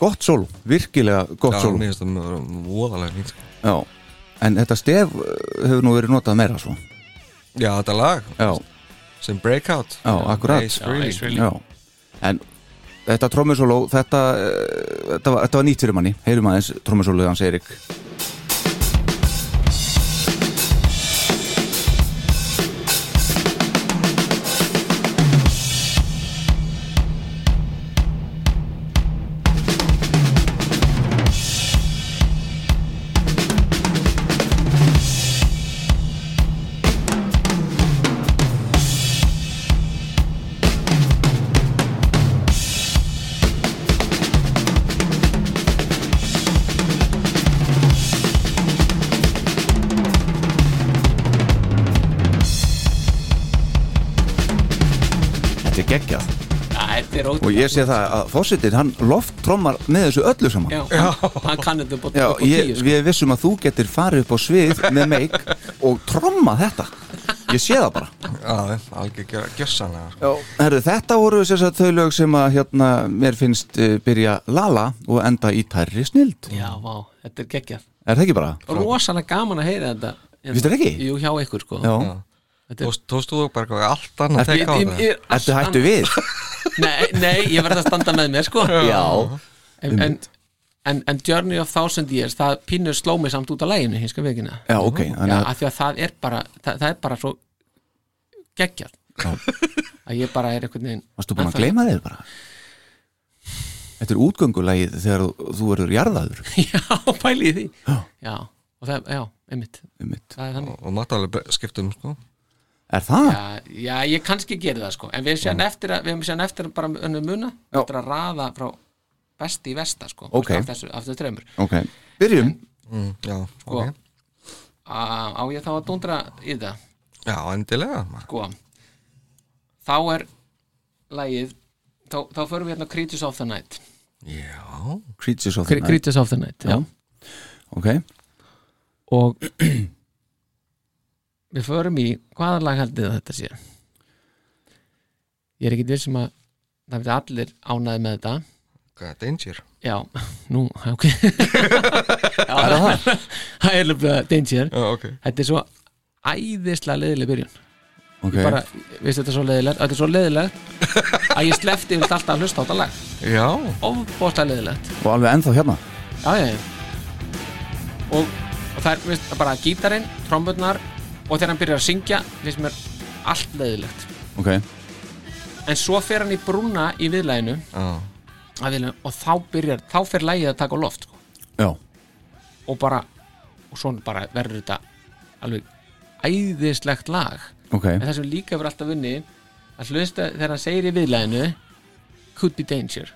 gott sól, virkilega gott
Já,
sól
mér finnst það verið voðalega fínt sko.
Já, en þetta stef uh, hefur nú verið notað meira svo
Já, þetta lag
Já,
sem Breakout
Já, akkurat.
Ace Frehley.
Ace Frehley.
já en þetta trómmusóló þetta, uh, þetta, var- þetta var nýtt fyrir manni heyrum aðeins trómmusólóið hans Erik Þetta er geggjað
Já, Þetta er ótt
og ég sé það að fórsetin hann lofttrommar með þessu öllu saman
Já, hann, hann kann þetta upp á-
Já,
upp á
ég,
tíu sko.
við vissum að þú getur farið upp á svið með meik og tromma þetta ég sé það bara
Já, algjör gjössanlega sko.
Herru, þetta voru þess að þau lög sem að hérna, mér finnst uh, byrja lala og enda í tærri snild
Já, vá, þetta er geggjað
er það ekki bara?
Rosalega gaman að heyra þetta Hérna.
Finnst þér ekki?
Jú, hjá ykkur sko
Já,
Þetta er-
Tókst- Tókst þú bara eitthvað allt annað
Ég-
tek á
ég-
það
ég-
ertu hættu við?
Nei, nei, ég verði að standa með mér sko
Já,
en,
Um,
en, en, en Journey of Thousand Years það pínur sló mig samt út af læginu hins skal vikina
já ok
Já,
þannig að,
af því að það er bara það, það er bara svo geggjað að ég bara er einhvern veginn
varstu búin að gleyma þér bara? Þetta er útgöngulægið þegar þú- þú verður jarðaður
Já, pæli í því
Já.
Já, og það, já, einmitt
einmitt.
það er þannig
Og mátt alveg bre- skipta um sko
um Er það?
Já, já, ég kannski geri það sko en við séum eftir að, við hefum séum eftir að bara önnum muna
Mm. Já.
eftir að raða frá besti í vesta sko
Ok.
af þessu, af þessu tremur
Ok, byrjum
mm, Já,
sko,
ok
á, á ég þá að dundra í það
Já, endilega maður.
sko þá er lægið þá, þá förum við hérna á Creatures of the Night
Já,
Creatures of the
Cre-
Night
Creatures of the Night, já,
Ok,
og við förum í hvaða lag haldið að þetta sé ég er ekkit vissum að það veit allir ánæði með þetta
hvað danger
já, nú, ok já, það er það það er löfnum danger
Já, ok
þetta er svo æðislega leiðileg byrjun
ok
ég bara, veist þetta er svo leiðilegt þetta er svo leiðilegt að ég slefti yfir alltaf að hlusta á þetta lag
Já,
ofbóðslega leiðilegt
Og alveg ennþá hérna
já, já, já. Og, og það er veist, bara gítarinn, trombutnar og þegar hann byrjar að syngja finnst mér allt leiðilegt
Ok,
en svo fer hann í brúna í viðlæginu,
já,
að viðlæginu og þá byrjar, þá fer lægið að taka á loft sko.
já,
og bara, og svona bara verður þetta alveg æðislegt lag
ok
en það sem líka verður alltaf vunni að hlusta þegar hann segir í viðlæginu could be danger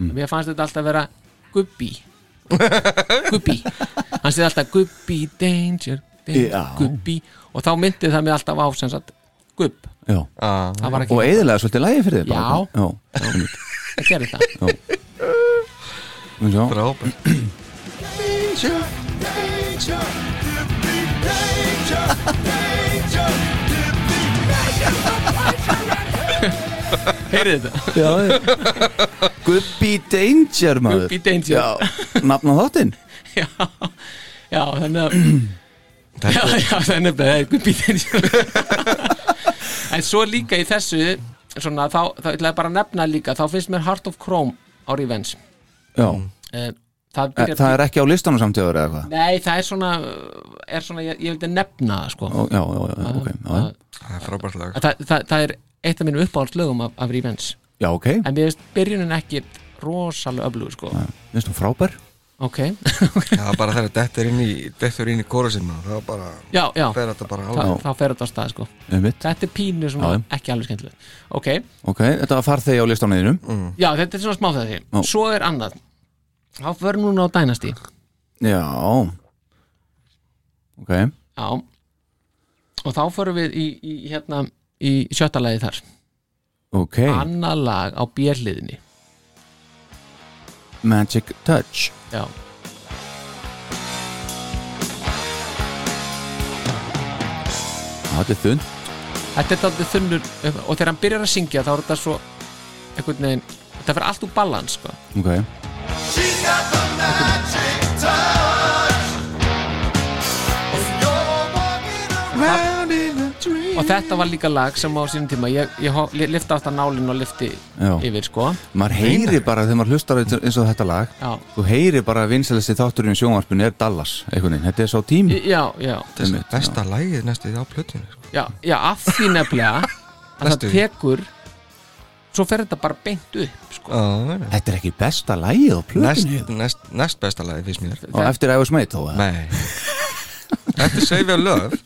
mér fannst þetta alltaf vera gubbi gubbi hann segði alltaf gubbi danger, danger
Já.
gubbi og þá myndi það mig alltaf á sem sagt gubb
já.
já
það var
Og
ekki,
eðilega svolítið lægi fyrir þér bara.
Já.
já. einmitt.
það gerir það
Nú sjá.
Frábært
heyrið þetta,
Já, já. Gubbi Danger maður
Gubbi Danger.
Já, nafna þáttinn
já já, þannig að já, já, þannig að það er gubbi danger en svo líka í þessu svona, þá, þá ætlaði bara að nefna líka þá finnst mér Heart of Chrome á Revenge
já.
Eh, það,
E,
byrjar,
það er ekki á listanum samtíður eða eitthvað
nei, það er svona, er svona ég, ég vildi nefna það sko
Ó, já, já, já, ok já, já.
að,
það er frábært lag
að, það, það, það er eitt af mínum uppáhaldslögum af, af Revenge
já, ok,
en mér finnst byrjunin ekki rosalega öflugur sko
minnst hún frábær
ok,
það var bara þegar dettur inn í dettur inn í kóra sinna það var bara
já, já
fer þetta bara
þá,
alveg
þá fer þetta á stað sko
einmitt.
þetta er pínu svona
Já,
ekki alveg skemmtileg ok,
ok, þetta var farþegi á listanum þínum
já þetta er svona smá þessi
Já.
svo er annað þá förum núna á Dynasty
já ok,
já og þá förum við í, í hérna í sjötta lagi þar
ok
annað lag á björliðinni
Magic Touch
já
Já, þetta er þund
þetta er þáttið þunnur og þegar hann byrjar að syngja þá er þetta svo einhvern veginn þetta fyrir allt úr balans sko
ok,
She's got the magic touch. You're walking around in a dream.
og þetta var líka lag sem á sínum tíma ég, ég ho- li- lyfti aftan nálinn og lyfti
Já.
yfir sko
maður heyri bara þegar maður hlustar eins eins og þetta lag
já,
þú heyri bara að vinsælasti þátturinn í sjónvarpinu er Dallas, einhvern veginn, þetta er sá tím
Í- já, já
Þetta er besta lagið næstu á plötinu sko.
Já, já, af því nefnilega að það
Lestu.
tekur svo fer þetta bara beint upp sko.
Já, já.
þetta er ekki besta lagið á plötinu
næst, næst, næst besta lagið finnst mér
og eftir æfa smæt þó eða?
nei Þetta er Save Your Love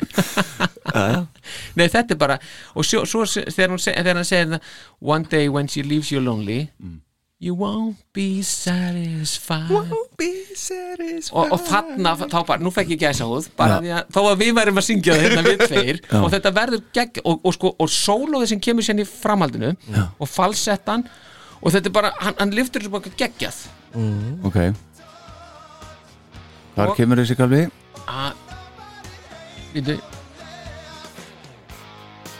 Nei, þetta er bara og svo, svo se- þegar, hún, se- þegar hann segir það, One day when she leaves you lonely You won't be satisfied og, og þarna, þá bara, nú fekk ég gæsa húð bara því að, þó að við værum að syngja það hérna við tveir og þetta verður gegg og, og sko, og sólóði sem kemur sérna í framhaldinu Já. og falsettan og þetta er bara, hann, hann liftur þessu bara geggjað
ok þar
Og-
kemur þessi kalvi
að Vídu,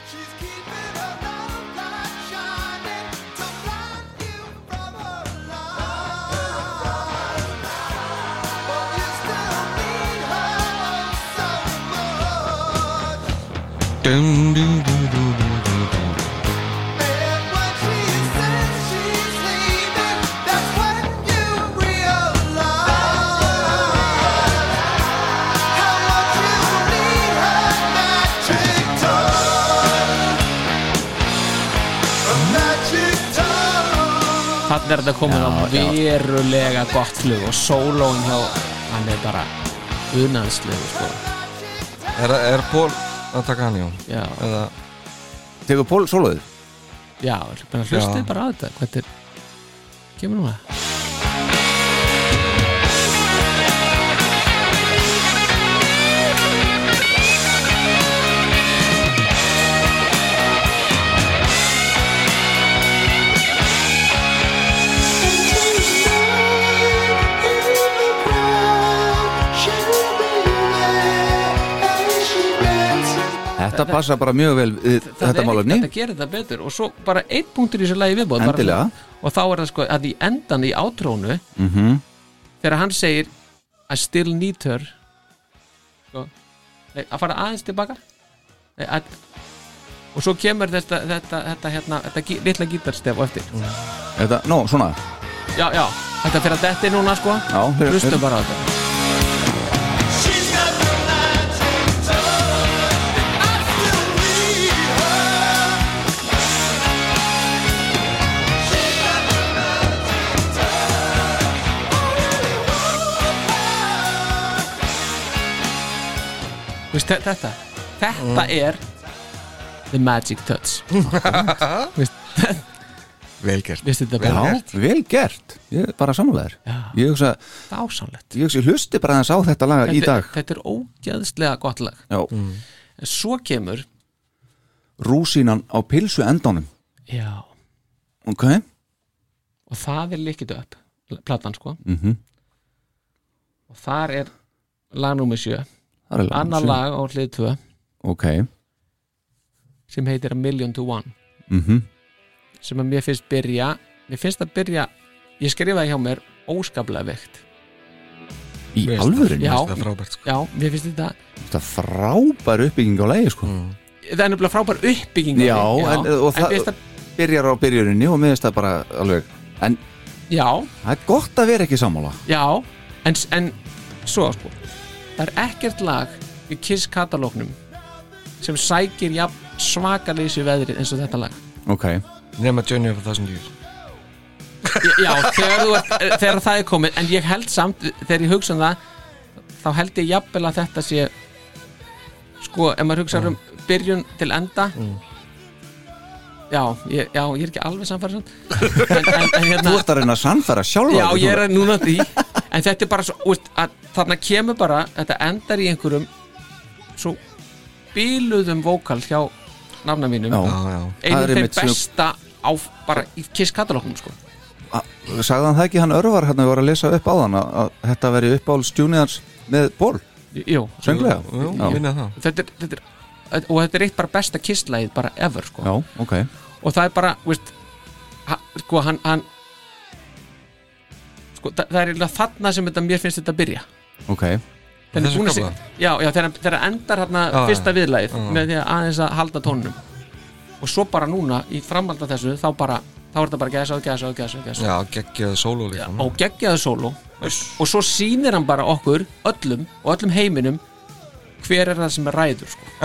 She's keeping her love light shining to block you from her life. But you still need her so much.
Dum, dum, dum, dum, dum, dum, dum.
And when she says she's leaving, that's when you realize how much you need her magic touch. A magic touch.
Þannig er þetta komin á
já.
verulega gott flug og sólóin hjá hann er bara unaðslegu sko.
Er, er Pól að taka hann í hún?
Já,
Eða,
tegur Pól soloðið
já, bara hlustið
Já.
bara á þetta Hvernig er, kemur núna?
þetta passa bara mjög vel við
Það
þetta
er
málefni
ekki- Þetta gerir þetta betur og svo bara einn punktur í þessu lagi viðbóð bara-
Endilega.
Og þá er það sko að í endan í átrónu
mm -hmm.
þegar hann segir I still need her sko, nei, að fara aðeins tilbaka nei, að, og svo kemur þetta, þetta, þetta, hérna, þetta gí, litla gítarstef og eftir
Mhm. þetta, nó, svona
já, já, þetta fyrir að þetta er núna sko
Já, heyr-
hlustu
heyr-
bara á þetta Þú veist, þe- þetta þetta
Mm.
er the magic touch
velgert
viðstu þetta
já,
bara
vel gert, ég er bara samúlegar
Já.
ég hugsa,
dásanlegt
ég hugsa, ég hlusti bara aðeins á þetta lag í dag
þetta er ógeðslega gott lag
já,
en svo kemur
rúsínan á pilsu endanum
já,
ok,
og það er líkit upp platan sko
Mhm.
og þar er lag nummer sjö
það er
annar
sem-
lag á hlið 2
ok,
sem heitir A Million to One
mhm
sem að mér finnst byrja mér finnst að byrja, ég skrifaði hjá mér óskaplega veikt
í
Veist það.
alvörinu,
Já.
Það er frábært sko
já, mér finnst þetta
þetta er frábær uppbygging á lagi sko
það er nefnilega frábær uppbygging á
Já,
því,
en- og
en
það-
mér finnst að
byrjar á byrjuninni og miðast það bara alveg en
já,
það er gott að vera ekki sammála
já en, en svo sko það er ekkert lag í Kiss katalóknum sem sækir jafn svakalýs í veðrið eins og þetta lag
ok,
Nefna Johnny of a Thousand Years
já, þegar, þú, ert- eh, þegar það er komið en ég held samt, þegar ég hugsa um það þá held ég jafnvel að þetta sé sko, ef maður hugsa um byrjun til enda já, ég, já, ég er ekki alveg samfæri en, en, en hérna
þú ert að reyna að sannfæra sjálfa
Já,
þig, þú-
ég er núna því En þetta er bara svo, úst, að þarna kemur bara Þetta endar í einhverjum Svo bíluðum vókal hjá nafna mínum
Já.
Já, já
það er
Einum þeim
einmitt sem-
besta á, bara í Kiss katalóknum sko.
A- sagði hann það ekki, hann örvar hérna við vorum að lesa upp á þann að, að þetta veri uppáhalds stjúniðans með ból,
Jú,
sönglega
Jú,
já,
minna það
þetta er, þetta er og þetta er eitt bara besta kisslægið bara ever sko.
já, ok
og það er bara veist, ha, sko hann, hann sko, það, það er eiginlega þarna sem þetta, mér finnst þetta byrja
ok,
Þegar hann
Þessum
búin að
kafla?
sig- Já, já, þegar, hann- þegar hann endar hérna
Já,
fyrsta
já,
viðlagið
já.
með því að aðeins að halda tónunum og svo bara núna í framhalda þessu þá bara, þá er þetta bara gæsa og gæsa og gæsa og gæsa
Já, geggjaði sóló líka
og geggjaðu sóló og svo sýnir hann bara okkur öllum og öllum heiminum hver er það sem er ræður sko.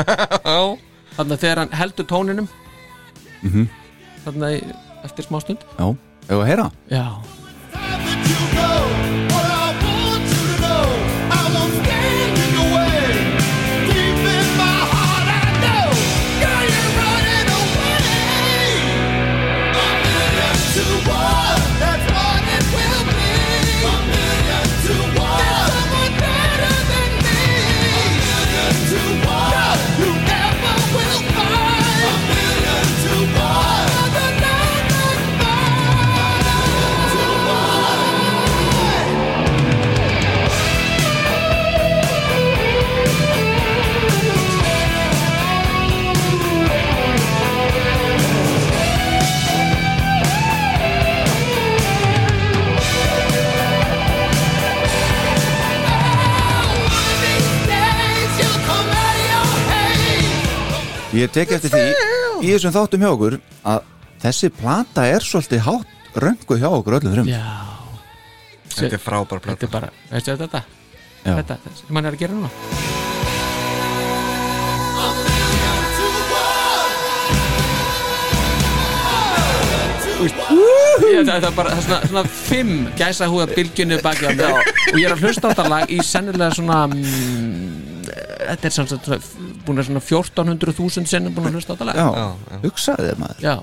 þannig að þegar hann heldur tóninum þannig að í- eftir smástund
já, ef að heyra
já,
You never will find a million to one other than
ég tek eftir því í þessum þáttum hjá okkur að þessi plata er svolítið hátt röngu hjá okkur öllum þrjum
já.
Þetta er frábær
þetta
plata
er bara, veistu þetta
Já.
þetta, þetta sem hann er að gera núna Ég, það, það er bara það er svona, svona fimm gæsa húða bylginu baki á mér og ég er að hlusta á þetta lag í sennilega svona mm, þetta er samt svona búin að svona 1400.000 sinnum búin að hlusta á þetta lag
já,
Já, já.
hugsaði þér maður
já,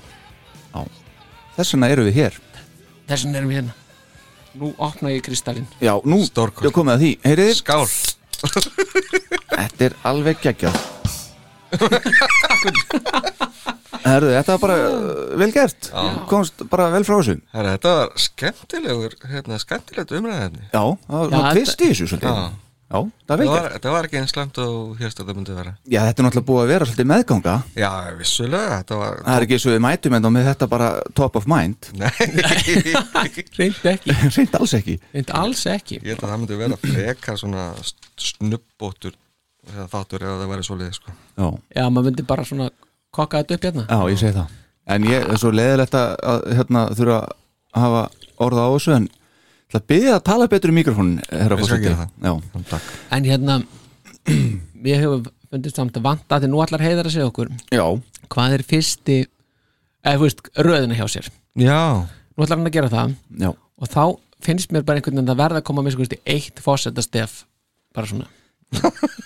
þess vegna eru við hér
þess vegna erum við hérna nú opna ég kristallinn
já, nú,
Stórkostlegt.
ég komið að því heyriðir,
Skál
þetta er alveg geggjað Herðu, þetta var bara uh, vel gert komst bara vel frá þessu já,
Herra, Þetta var skemmtilegur, hérna, skemmtilegt umræðefni
það var
Já,
svona tvist í þessu
Já
svolítið já, það var vel
Þetta var,
gert
þetta var ekki eins langt og hérst að það myndi vera
já, þetta er náttúrulega búið að vera svolítið meðganga
Já, vissulega, þetta var
það er ekki eins og við mætum en þá með þetta bara top of mind
Nei,
reyndi ekki,
reynd alls ekki
reyndi alls ekki
ég held að það myndi vera frekar svona snubbóttur eða þáttur eða það væri svoleiði sko.
já,
já, maður myndi bara svona kokka þetta upp hérna
já ég segi það en ég er svo leiðilegt að- að hérna, þurfa að hafa orða á þessu en það byrja að tala betur í mikrofónin herra
Ég skal
fórseti
gera það.
já,
Takk.
En hérna Mér hefur fundist samt að vanta Þegar nú allar heiðar að segja okkur
já,
Hvað er fyrsti eða þú veist, röðina hjá sér
Já,
Nú allar hann að gera það
já.
Og þá finnst mér bara einhvern veginn að verða að koma Mér sko veist í eitt fósettastef Bara svona,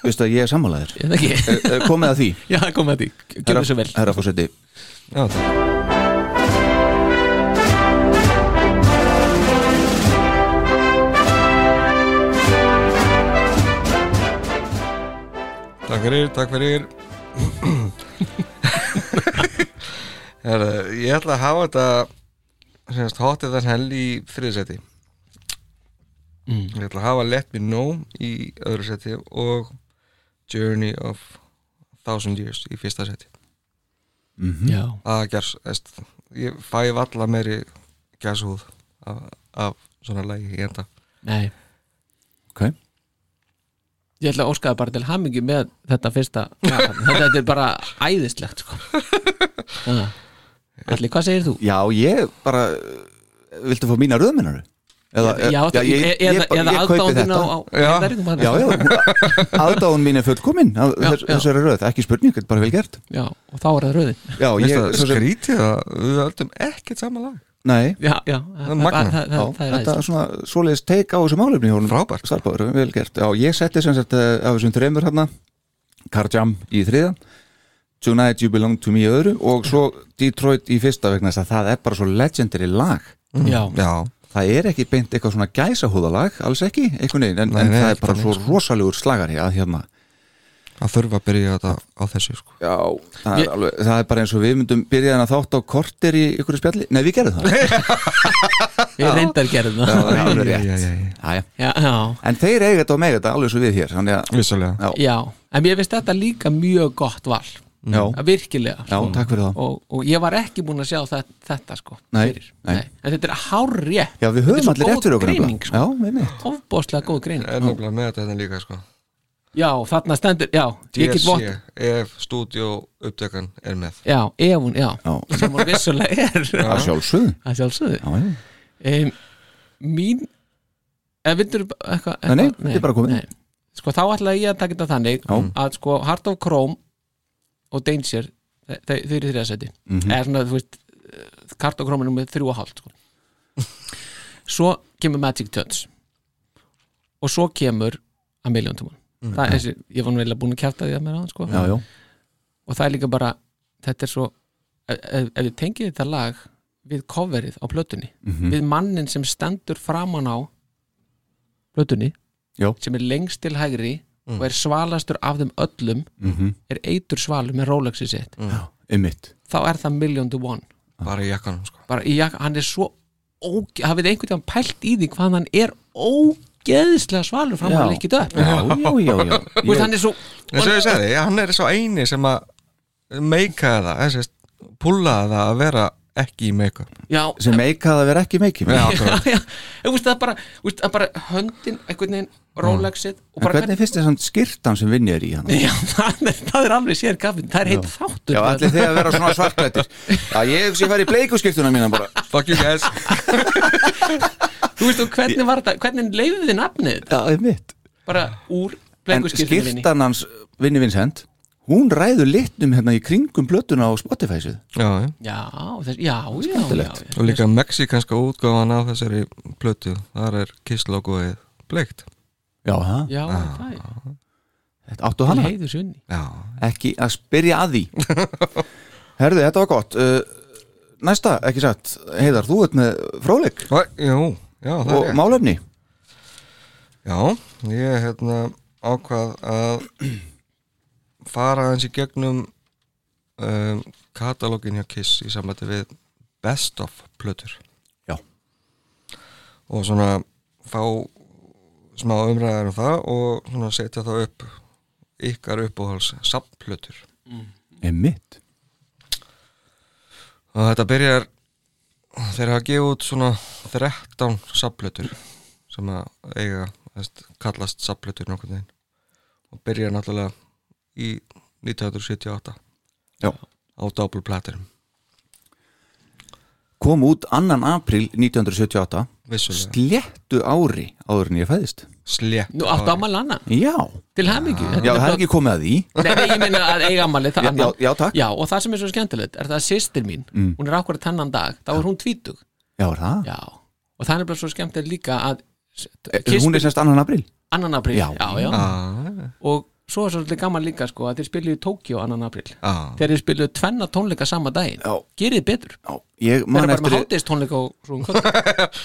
veistu að ég er sammálaðir
ég veit ekki
eh, komið að því
Já, komið að því, gjörðu svo vel
herra fórseti
já takk. Takk fyrir, takk fyrir Herra, Ég ætla að hafa þetta semast hotið þann hell í þriðsæti mm. Ég ætla að hafa Let Me Know í öðru seti og Journey of Thousand Years í fyrsta seti
Já,
að gers, veist, ég fæ valla meiri gershúð af, af svona lægi í enda
nei
ok
Ég ætla að óskaða bara til hamingi með þetta fyrsta lag. Þetta þetta er bara æðislegt sko. Já, Allir, hvað segir þú?
Já, ég bara Viltu fá mína röðminnaru? Eða,
Já,
Eh, já, ég- ég-
eða,
bara-
eða
ég kaupi
aðdáðin á,
þetta.
á
Já.
heiðarinn, maður.
Já, já, aðdáðun mín er fullkomin af
Já,
þess-
já.
Þessari röð, ekki spurning, þetta er bara vel gert
Já, og þá er það röðin
Já,
Ég,
ég,
það,
svo sem,
skrítið að við öldum ekkert sama lag
nei
Já, já,
er magnað.
það,
Já,
það, það er
þetta er
aðeins
svona svoleiðis teik á þessu málefni hjá honum.
Frábært. sko.
Starbáður, vel gert Já, ég setti sem sagt eh, af þessum þreymur hérna Karjam í þriða Tonight You Belong To Me í öðru og svo Detroit í fyrsta vegna þess að það er bara svo legendary lag
Já,
Já,
það er ekki beint eitthvað svona gæsahúðalag alls ekki, einhvern veginn, en,
Nei,
en
nei,
það er
ekki
bara
þannig,
svo
sko.
rosalegur slagari að hérna
að þurfa að byrja þetta á þessu sko.
Já, það,
Ég-
er alveg, það er bara eins og við myndum byrja þarna þátt á kortir í ykkur spjalli Nei, við gerðum það
við reyndar gerðum það
Það er alveg
Æ,
rétt.
æ, æ, æ.
Já, já.
Já, já,
En þeir eiga þetta og mega þetta alveg svo við hér Þannig að,
Vissulega
já,
já En mér finnst þetta líka mjög gott val
já,
Að Virkilega
já,
sko.
takk fyrir það
og, og ég var ekki búin að sjá þetta, þetta sko
Nei,
fyrir.
nei.
En þetta er hár rétt
Já, við höfum allir rétt fyrir okkur nefnilega.
greining, sko.
Já, við mitt
Ofbóðslega góð greining
Er náttúrulega með þetta hérna líka sko.
Já, þarna stendur, já, ég get vott
DSC, ef stúdíó upptökan er með
Já, ef hún, já,
Já.
sem hún vissulega er
Að sjálfsögðu
Það sjálfsögðu
Já, já,
um, Mín eða vildur eitthvað
Nei, nei,
eitthvað-
þið bara komið.
nei. Sko þá ætlaði ég að taka þetta þannig
Já.
að sko Heart of Chrome og Danger þau, þau þau eru í þriðasæti mm
Mhm.
-hmm. eða svona, þú veist eh, Heart of Chrome er nummer þrjú og hálft sko. Svo kemur Magic Turns og svo kemur A Million to One það er þessi, ég var nú eiginlega búin að kjæfta því að mér á sko.
Mhm. já, já,
og það er líka bara þetta er svo ef, ef ef þið tengið þetta lag við coverið á plötunni
Mhm.
við mannin sem stendur framan á plötunni
Já.
sem er lengst til hægri og er svalastur af þeim öllum
Mhm.
er eitur svalur með Rolexi sitt
um mitt
þá er það million to one
bara í jakkanum sko.
bara, í jak- hann er svo óge- hafið þið einhvern veginn pælt í því hvað hann er ógeðslega svalur framan
Já.
að líkkið upp
Já, já, já, já
Þú veist, hann er svo
En svo ég segi, hann er sá eini sem að meika það, þessi pulla það að vera ekki í meika
já,
Sem meika það vera ekki meiki
Já,
já,
akkurat.
já, Þú veist, það er bara, þú veist, það er bara höndin, einhvern veginn, Rolexið og
En
bara
hvernig finnst þér samt skýrtan sem vinni er í hann?
Já, það er, það er alveg sér kaffin, það er heitt þáttur
Já, allir þið að vera svona svartlættir Já, ég hugsi að fara í bleikuskiptuna mína bara
Fuck you guys
Þú veist, og hvernig var þetta, hvernig leiðið þið nafnið þetta?
Já, um mitt
Bara úr
En
bleikurskirtinni
skýrtan hans Vinni Vincent Hún ræður litnum hérna í kringum blötuna á Spotify-sið
já, já.
Já, þess, já, já, já,
Skemmtilegt.
já
Og líka mexikanska útgáfan á þessari plötu Þar er kisslógoið bleikt
Já, það
Já, það er
Áttu
Til
hana?
heiður sunni
Já,
Ekki að spyrja að því Herðu, þetta var gott uh, Næsta, ekki satt Heiðar, þú ert með fróleik
Æ, jú, já, það
og
er ég
málefni
Já, ég hérna ákvað að fara aðeins í gegnum um, katalógin hjá Kiss í samvætti við best of plötur
Já.
og svona fá smá umræðar um það og svona setja það upp ykkar uppáhals samplötur
Er mitt
og þetta byrjar þeir hafa gefið út svona 13 saplötur sem að eiga þess, kallast saplötur nokkurn veginn og byrjar náttúrulega í 1978
Já.
á doppelplatirum
Kom út 2. apríl 1978
vissulega
Sléttu ári áður en ég fæðist
slétt
Nú, áttu ámæli annað,
Já,
til hemmingju
já það er ekki komið að því
Nei, nei, ég meina að eiga ammali það
Já,
annað.
já, já, takk. Mm.
Já, og það sem er svo skemmtilegt er það að systir mín, hún er akkurat hennan dag þá er hún tvítug,
Já, er það?
já og það er bara svo skemmtilegt líka að
Eh, Hún er semst 2. apríl
annan april, já,
Já. Ah.
já, og svo er svolítið gaman líka sko að þeir spiluðu í Tókjó annan april
Já.
þegar þeir spiluðu tvenna tónleika sama daginn
Já.
gerið betur,
Já, ég
þeir
man
eru bara
eftir
með hátis tónleika og svo um kvöld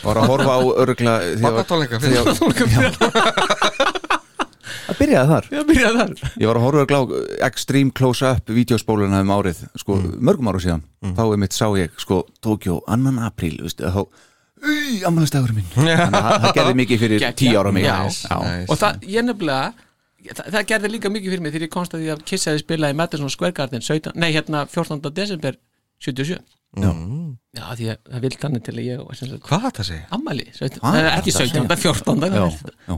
var að horfa á örgla
Barnatónleika fyrir
að byrjaði þar
já, byrjaði þar
ég var að horfa örgla á Extreme Close-Up vídeospóluna um árið, sko, mörgum áru síðan þá er mitt sá ég, sko, Tókjó 2. apríl, veistu, þá Í, ammælistagurinn minn Þannig að það- það gerði mikið fyrir
Geggjað.
tíu ára mig
Já.
já,
og það, ég nefnilega, það, það gerði líka mikið fyrir mig þegar ég komst að því að kissaði spilaði í Madison Square Garden 17, nei, hérna 14. desember 77
já.
já, því að það vild þannig til að ég var sem sagt
Hvað þetta segja?
ammali, 17,
Hvað
Nei,
er
ekki
þetta
17,
að
14
Já,
já.
já.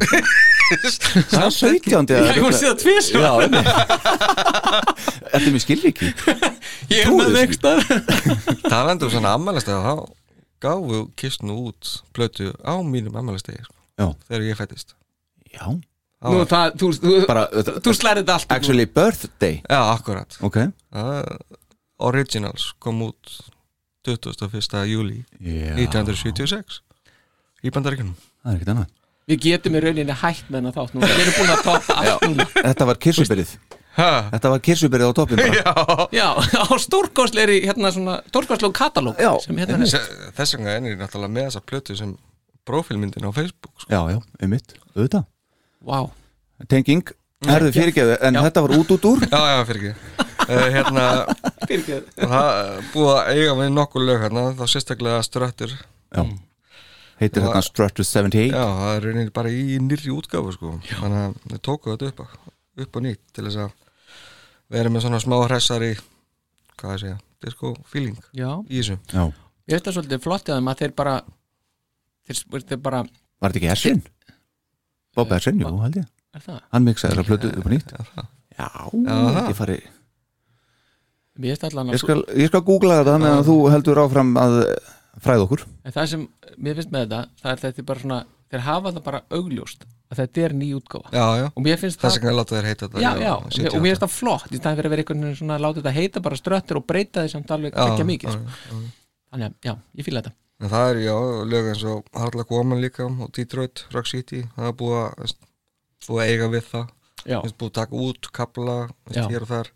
Það er 17. eða
Ég hef
eitthvað.
séð það tvís
Já, einmitt. Ertu mér skilri ekki?
Ég hef með það einhvers staðar.
Talandi um svona ammælistegi þá gáfu kistnu út plötu á mínum ammælistegi sko,
Já,
þegar ég fættist
já
Já.
Nú það, þú, þú,
Bara, uh,
þú slærið þetta allt
actually birthday
Já, akkurat
Ok,
Það- Originals kom út 21. júli
já,
1976 í bandaríkunum
það er ekkert annað
Við getum í rauninni hægt með hennar þátt núna Við erum búin að toppa allt núna
Þetta var kirsuberið
Ha,
Þetta var kirsuberið á toppin bara
Já, á stórkostleiri hérna svona stórkostlegu katalóg
Já,
sem hérna er
þess- Þess vegna er ég náttúrulega með þessa plötu sem prófílmyndin á Facebook sko.
Já, já, einmitt, auðvitað
Vá,
Tenging, herðu fyrirgeðu En
Já.
þetta var út út úr
Já, já, fyrir ekki uh, Hérna,
fyrirgeðu
það er búið að eiga með nokkur lög hérna, þá sérstaklega ströttur já,
Já Heitir hérna Strutter 78
það er rauninni bara í nýrri útgáfu sko, þannig að þau tóku þetta upp, á- upp og nýtt til þess að vera með svona smá hressari hvað að segja, disco feeling
Já,
í þessu,
Já,
ég veist það svolítið flott í þeim að þeir bara þeir, þeir bara,
var þetta ekki Ersin? Bob Ersin, jú, held ég
er það?
Hann miksaði þessa plötu upp og nýtt Já, ég fari
Ég veist allan
Ég sko-
að
skal, ég skal googla þetta
Ah.
meðan þú heldur áfram að eh, fræða okkur
en það sem mér finnst með þetta það er þetta er bara svona, þeir hafa það bara augljóst að þetta er ný útgáfa
já, já
og mér finnst það,
þess vegna láta þér heita þetta
já, já, og mér finnst það flott í staðan fyrir að vera einhvern veginn svona að láta þetta heita bara ströttur og breyta því samt alveg ekki mikið sko. þannig að, já, ég fíla þetta
en það er, já, lög eins og Harla Góman líka og Detroit, Rock City það er búið að, veist, búið að eiga við það
já,
finnst búið að taka út, kapla
Já.
veist, hér og þar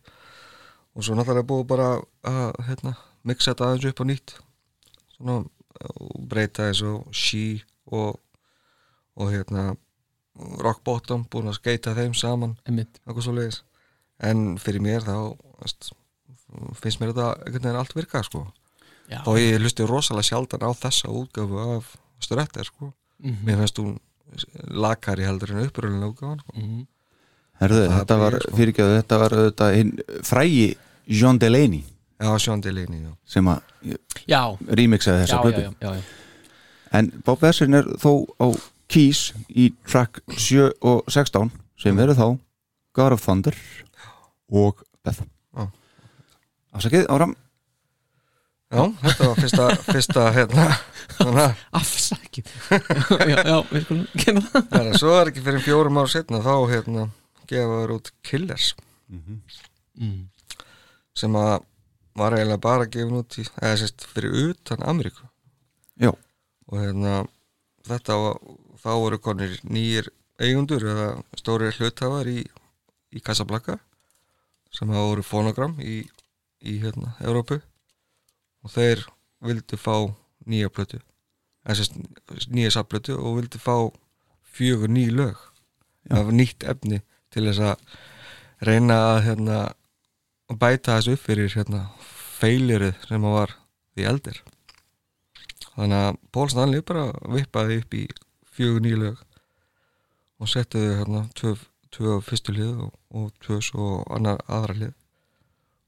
og svo náttúrulega búið bara að hérna, mixa þetta aðeins upp á nýtt svona, og breyta eins og she og, og hérna rock bottom, búin að skeita þeim saman
einmitt,
eitthvað svo leiðis en fyrir mér þá veist, finnst mér þetta einhvern veginn allt virka sko.
já,
þá ég hlusti rosalega sjaldan á þessa útgafu af ströttir sko.
Mhm.
mér finnst hún lakari heldur en uppröðlega útgafan sko.
Mm.
Herðu, þetta var,
byrjar, sko.
fyrirgeðu, þetta var auðvitað hinn frægi John Delaney
já, Sean Delaney, já
sem að
já,
remixaði
já,
þessa
já,
plötu
já, já, já.
En Bob Essin er þó á Keys í track 7 og 16 sem verður þá God of Thunder og Beth
Ah.
Já.
Afsakið, áram
Já, þetta var fyrsta, fyrsta hérna, svona,
afsakið já, já, við skulum kenna það
hérna, svo er ekki fyrir fjórum ára setna þá hérna gefa þér út Killers
Mm.
sem að var eiginlega bara gefin út í, eða sérst fyrir utan Ameríku
Já,
og hérna þetta var, þá voru konir nýjir eigundur eða stóri hluthafar í, í Casablanca sem hafa voru fonogram í, í hérna, Evrópu og þeir vildu fá nýja plötu eða sérst, nýja sapplötu og vildu fá fjögur ný lög af nýtt efni til þess að reyna að hérna, bæta þessu upp fyrir hérna, feilirið sem að var því eldir þannig að Paul Stanley bara vippaði upp í fjögur nýja lög og settiði hérna tvö, tvö á fyrstu hlið og, og tvö svo á annar aðra hlið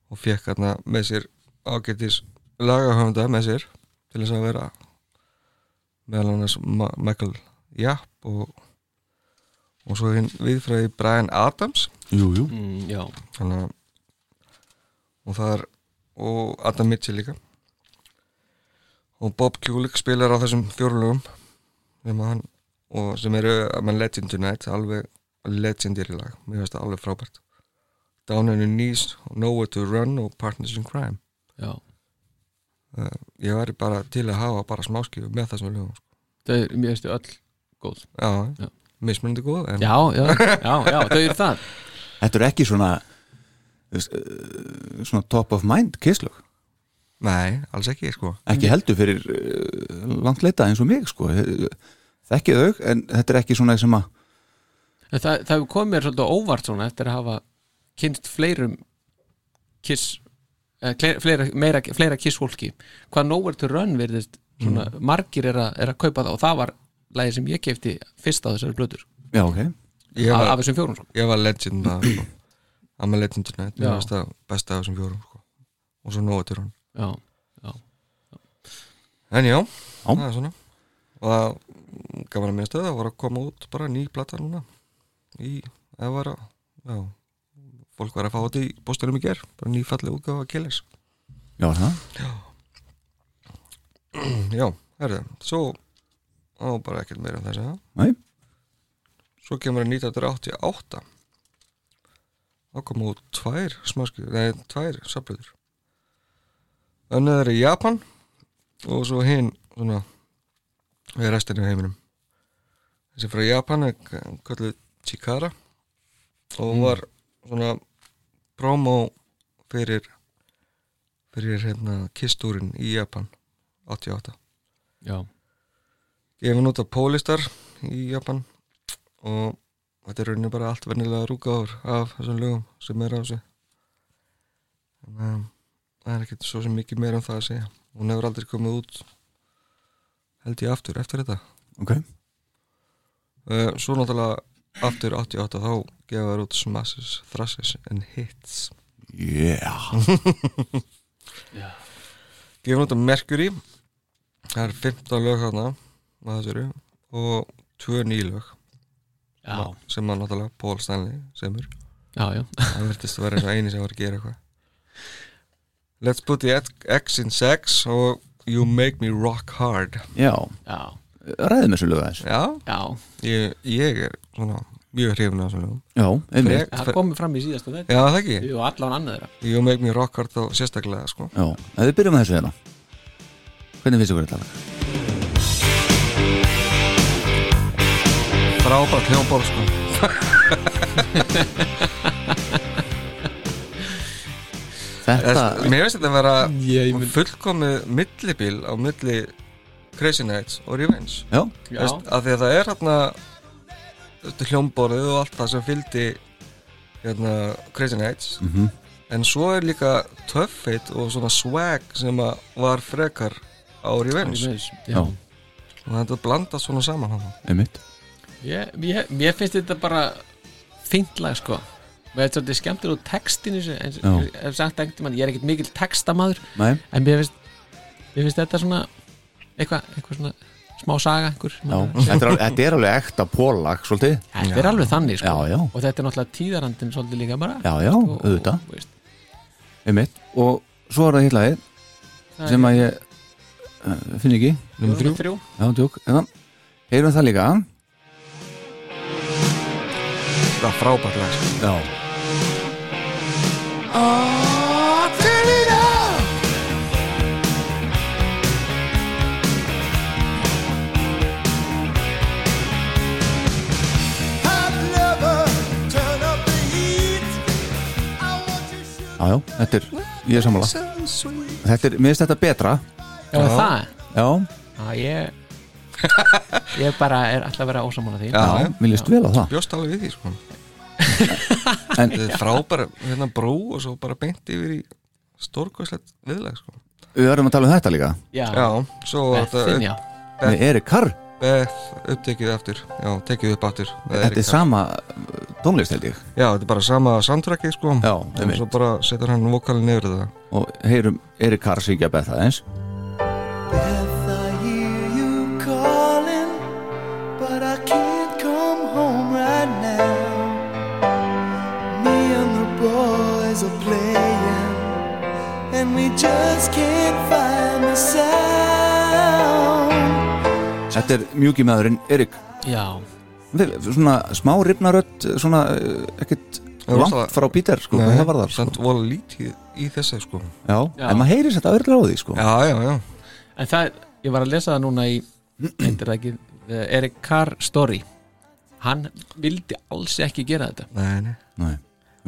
og fekk hérna með sér ágætis lagahöfunda með sér til þess að vera meðal annars Ma Michael Japp og, og svo hinn viðfræði Brian Adams
jú, jú
mm, já,
þannig að og það er og Adam Mitchell líka og Bob Kulik spilar á þessum fjórlugum sem að hann og sem eru að mann Legend Tonight alveg legendary lag mér finnst það alveg frábært Down on your knees, Nowhere to Run og Partners in Crime
já
uh, ég væri bara til að hafa bara smáskifu með þessum lögum sko.
þau eru, mér veistu, öll góð Já.
já, mismunandi góð en
já, já, já, já, þau eru það
Þetta er ekki svona þú veist, eh, svona top of mind kisslög
nei, alls ekki sko
ekki heldur fyrir eh, langt leita eins og mig sko þekki þau en þetta er ekki svona sem að
En Það, það hefur komið mér svolítið á óvart svona eftir að hafa kynst fleirum kiss eh, kleir- fleira, meira, fleira kiss hólki hvað Nowhere to Run verðist svona, margir er að, er að kaupa það og það var lagið sem ég kefti fyrst á þessari blöður
já, ok,
ég
af, af
var,
þessum fjórum svona.
ég var legend maður sko. I'm a legend tonight
Já.
mér finnst það besta af þessum fjórum sko. og svo nóa til hann
Já,
en já, það er svona og það gaman að minnast það, það var að koma út bara ný plata núna í, það var á já, fólk var að fá þetta í bóstunum í ger, bara nýfalleg útgáfa að Killers
Já, er það?
já, herðu, svo á bara ekkert meira um þess að
Nei,
svo kemur að 1988 þá kom út tvær smaskjur, nei, tvær saflöður önnöður í Japan og svo hinn svona, við restinu í heiminum þessi frá Japan er k- kölluð Chikara og hún var svona promo fyrir fyrir hérna kistúrin í Japan 88
já,
gefin út á Pólistar í Japan og þetta er rauninni bara allt vennilega rúkaður af þessum lögum sem er á þessu þannig að það er ekkert svo sem mikið meira um það að segja hún hefur aldrei komið út held ég aftur eftir þetta
ok
uh, svo náttúrulega aftur 88 þá gefa þær út smashes, thrashes and hits
Yeah
gefin út á Mercury það er 15 lög þarna að þessu eru, og 2 nýlög
já,
sem að náttúrulega Paul Stanley semur
já, já.
Það verðist að vera eins og eini sem var að gera eitthvað Let's put the X in sex og You make me rock hard
Já,
já,
ræðum þessu lög aðeins
Já,
já.
ég, ég er svona mjög hrifin af svona
Já, einmitt
Frek-
það komið fram í síðasta þetta
Já, það ekki
og allan annað þeirra
You make me rock hard þá sérstaklega sko
Já, ef við byrjum að þessu hérna Hvernig finnst ykkur þetta lag?
Frábært hljómborð sko
Þetta,
Þess, Mér finnst þetta að vera
Ég mynd-
fullkomið millibíl á milli Crazy Nights og Revenge
já,
já,
Veist, af því að það er hérna þetta hljómborðið og allt það sem fylgdi hérna Crazy Nights -hmm. en svo er líka töffeit og svona swag sem að var frekar á Revenge
já.
já,
já.
og þetta blandast svona saman hann
einmitt
Ég, ég, mér finnst þetta bara fínt lag sko Mér finnst þetta skemmtir úr textinu eins
Já.
og hef sagt einhvern mann, ég er ekkert mikill textamaður
Nei,
en mér finnst, mér finnst þetta svona eitthvað, eitthvað svona smá saga einhver
já, þetta er alveg, þetta er alveg ekta pólag svolítið
Þetta er alveg þannig sko
Já, já.
og þetta er náttúrulega tíðarandin svolítið líka bara
Já, já,
Og- og-
auðvitað.
þú veist,
Einmitt, og svo er það hitt lagið
það
sem
er-
að ég uh, finn ekki
Númer þrjú
Já, tjók, hérna Heyrum það líka
það er frábært lag sko.
Já,
Oh, turn it up. I'd never turn up the heat. I want you
já, já, þetta er, ég er sammála
so sweet.
Þetta er, mér finnst þetta betra
Já, það
Já,
Já, ég ég bara er alltaf að vera ósamála því
Já,
já, mér líst vel á það
bjóst alveg við því sko
En-
þetta er frábært hérna brú og svo bara beint yfir í stórkvæslegt viðlag sko
Við verðum að tala um þetta líka
Já,
já, svo var
Þinn,
þetta
já.
Með Erik Carr,
upp, upptekið aftur já, tekið upp aftur með
þetta
Eric
er sama uh, tónlist held ég
Já, þetta er bara sama soundtrackið sko
Já,
En
einmitt.
svo bara setur hann vokalin niður í það
Og heyrum Erik Carr syngja betha eins
Beth, I hear you calling, but I can't come home right now. Me and the boys are playing, and we just can't find the sound.
Þetta er mjúki maðurinn Erik
já,
Vel, Svona smá rifnarödd, svona uh, ekkert
Já,
langt
rosalega.
frá Peter sko, hvað það var þar sko.
Samt vola lítið í þessu sko
já,
Já.
en maður heyrir þetta öðrulega á því sko.
Já, já, já
En það, ég var að lesa það núna í Endur það ekki, eh, Eric Carr Story Hann vildi alls ekki gera þetta
Nei, nei
Nei,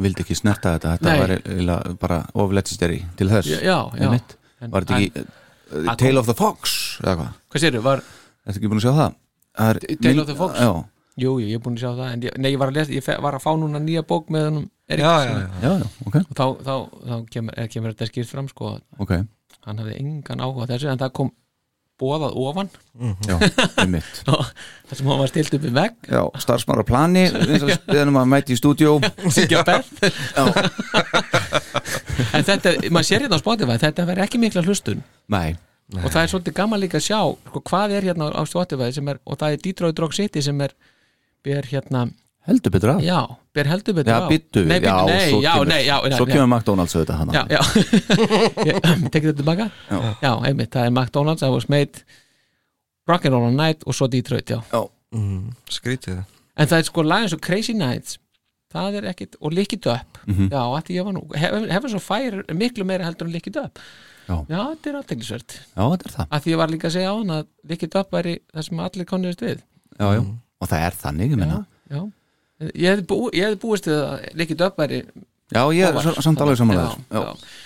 vildi ekki snerta þetta þetta
Nei.
var eiginlega bara oflettisteri til þess
Já, já, já.
Einmitt.
En-
Var þetta ekki uh,
Hann-
Tale of the Fox eða hvað,
Hvað sérðu, var,
ertu ekki búin að sjá það? það er
Tale
mynd-
of the Fox?
Já,
jú, jú, ég er búin að sjá það en ég, Nei, ég var að lesa, ég fe- var að fá núna nýja bók með hann Eric
Já, já,
sem-
já
já, já, ok,
Og þá, þá, þá kemur, eh, kemur þetta skýrt fram sko að
ok
Hann hafði engan áhuga á þessu En það kom bóðað ofan
Já, einmitt
Það sem hann var stilt upp í vegg
Já, starfsmára plani, eins og við erum að mæti í stúdíó
Syngja Beth En þetta, maður sér hérna á Spotify Þetta verður ekki mikla hlustun
Nei,
og það er svolítið gaman líka að sjá sko, hvað er hérna á Spotify sem er, og það er Detroit Rock City sem er ber hérna
heldur betur að
Já, ber heldur betur
Já,
á
býttu við
Nei, býttu,
já,
nei,
svo
já,
kemur,
nei, já, já,
Svo
nei.
kemur McDonalds auðvitað hana
Já, já Ég tekið þetta tilbaka
Já.
já, einmitt, það er McDonalds, það was made Rock'n'Roll on Night og svo Detroit, já
já.
mm, skrítið
En það er sko lag eins og Crazy Nights Það er ekkit, og Lick It Up
Mhm.
Já, að ég var nú, hefur svo fær miklu meira heldur en Lick It Up
Já.
já þetta er aðteglisvert
já, þetta er það
að því ég var líka að segja á hann að Lick It Up væri það sem allir konniðist við
já, já. Mm. Og það er þannig, ég menna
já. Ég, hefði bú, ég hefði búist við að Lick It Up væri
Já, ég er svo- samt alveg samanlega
já, já.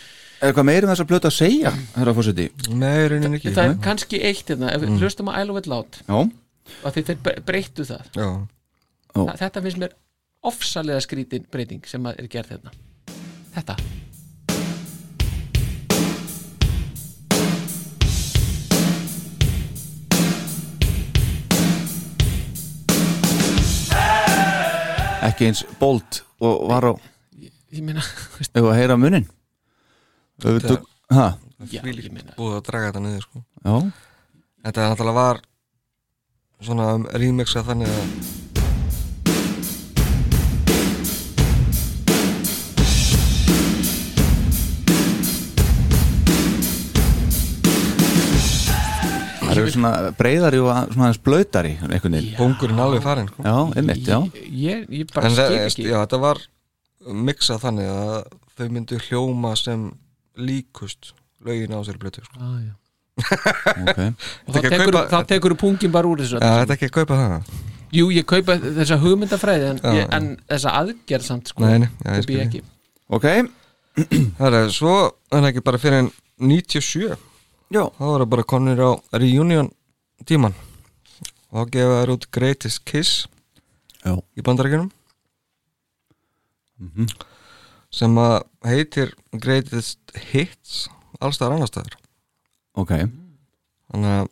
Er eitthvað meira um þess að blöta að segja, herra fórseti?
nei, raunin ekki
það er kannski eitt hérna,
Mm.
ef við hlustum að ælu vill lát
Já,
að þeir bre- breyttu það
já,
Ó.
Þa- þetta finnst mér ofsalega skrítin breyting sem að er gerð hérna þetta
ekki eins bolt og var á
ég meina, þú veist,
Ef að heyra munin
Það-
Hæ,
já,
því
ég meina
búið að draga þetta niður sko.
já,
þetta náttúrulega var svona remixa þannig að
það eru svona breyðari og að- svona aðeins blötari einhvern veginn
pungurinn alveg farin sko.
Já, einmitt, já
ég, ég bara
en
skil
það,
ekki
já, þetta var mixað þannig að þau myndu hljóma sem líkust lögin á sér blötu sko.
Ah, já.
okay.
og
Þetta
þá
ekki að
tekur,
kaupa-
þá tekur pungin bara úr þessu
Já, þetta er ekki að kaupa það
jú, ég kaupa þessa hugmyndafræði en,
Já,
ég,
já.
en þessa aðgerð samt sko,
Nei, nei, já, ég
kaupi
skil
ég
þig.
ekki
ok,
Það er svo, en ekki bara fyrir en 97
já
þá voru bara konir á reunion tíman og þá gefa þær út Greatest Kiss
Já.
í bandarækjunum sem að heitir Greatest Hits allstaðar annarstaðar
Ok,
þannig að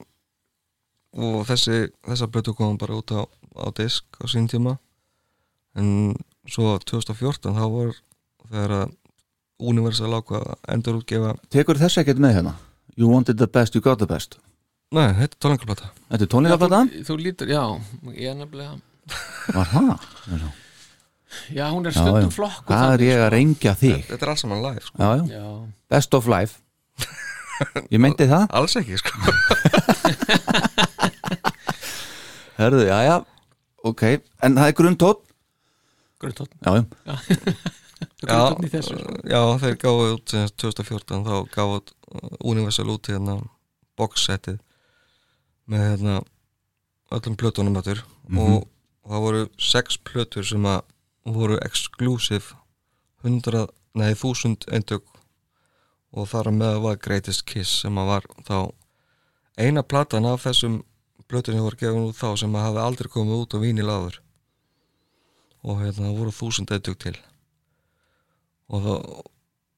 og þessi, þessa blötu komum bara út á, á disk á sín tíma en svo 2014 þá voru þegar að Universal ákvað að endur útgefa
tekur þess ekkert með hérna You wanted the best, you got the best
Nei, þetta er tónlingarplata
Þetta er tónleikaplata?
þú, þú lítur, já, ég er nefnilega
Var það?
já, hún er
Já, já.
stundum flokk
Hvað er ég að rengja þig?
Þetta er alls saman live sko.
Já, já,
já,
best of life Ég meinti það
Alls ekki sko
Herðu, já, já, ok En það er grunntótt
gruntótt
Já, já,
gruntótt í þessu sko.
Já, þeir gáðu út eh, sem sagt, 2014 þá gáðu út uh, Universal út í hérna boxsetið með hérna öllum plötunum öttur og það voru sex plötur sem að voru exclusive 100, nei 1000 eintök og þar með var Greatest Kiss sem að var þá eina platan af þessum plötur sem voru gefin út þá sem að hafi aldrei komið út á víni láður og hérna það voru 1000 eintök til og, það,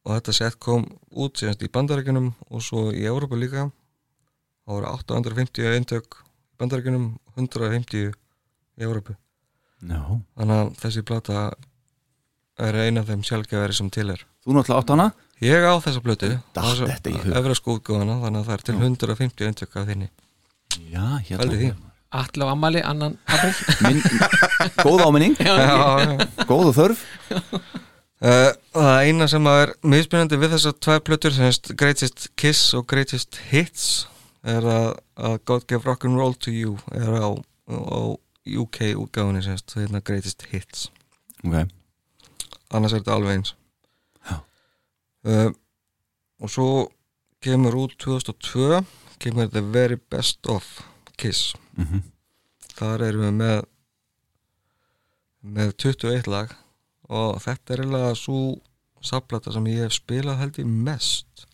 og þetta set kom út síðanst í bandarækjunum og svo í Európa líka það voru 850 eintök í bandarækjunum 150 í Európu
já
þannig að þessi plata er eina af þeim sjálfgefari sem til er
Þú náttúrulega átt hana?
ég á þessa plötu
Datt þetta í hug.
efra skóðgóðana þannig að það er til 150 eintök af þinni
Já, hérna
Pældi því.
Atla og Amali, annan april
Minn, Góð áminning,
Já, já.
góð og þörf
Eh, Það eina sem að er mismunandi við þessar tvær plötur sem hefst Greatest Kiss og Greatest Hits er að, að God Give Rock'n'Roll to You er á, á UK útgáfunni sem hefst hérna Greatest Hits
Ok,
annars er þetta alveg eins
Já.
Eh, og svo kemur út 2002 kemur The Very Best Of Kiss
Mhm.
þar erum við með með 21 lag og þetta er eiginlega svo saplata sem ég hef spilað held ég mest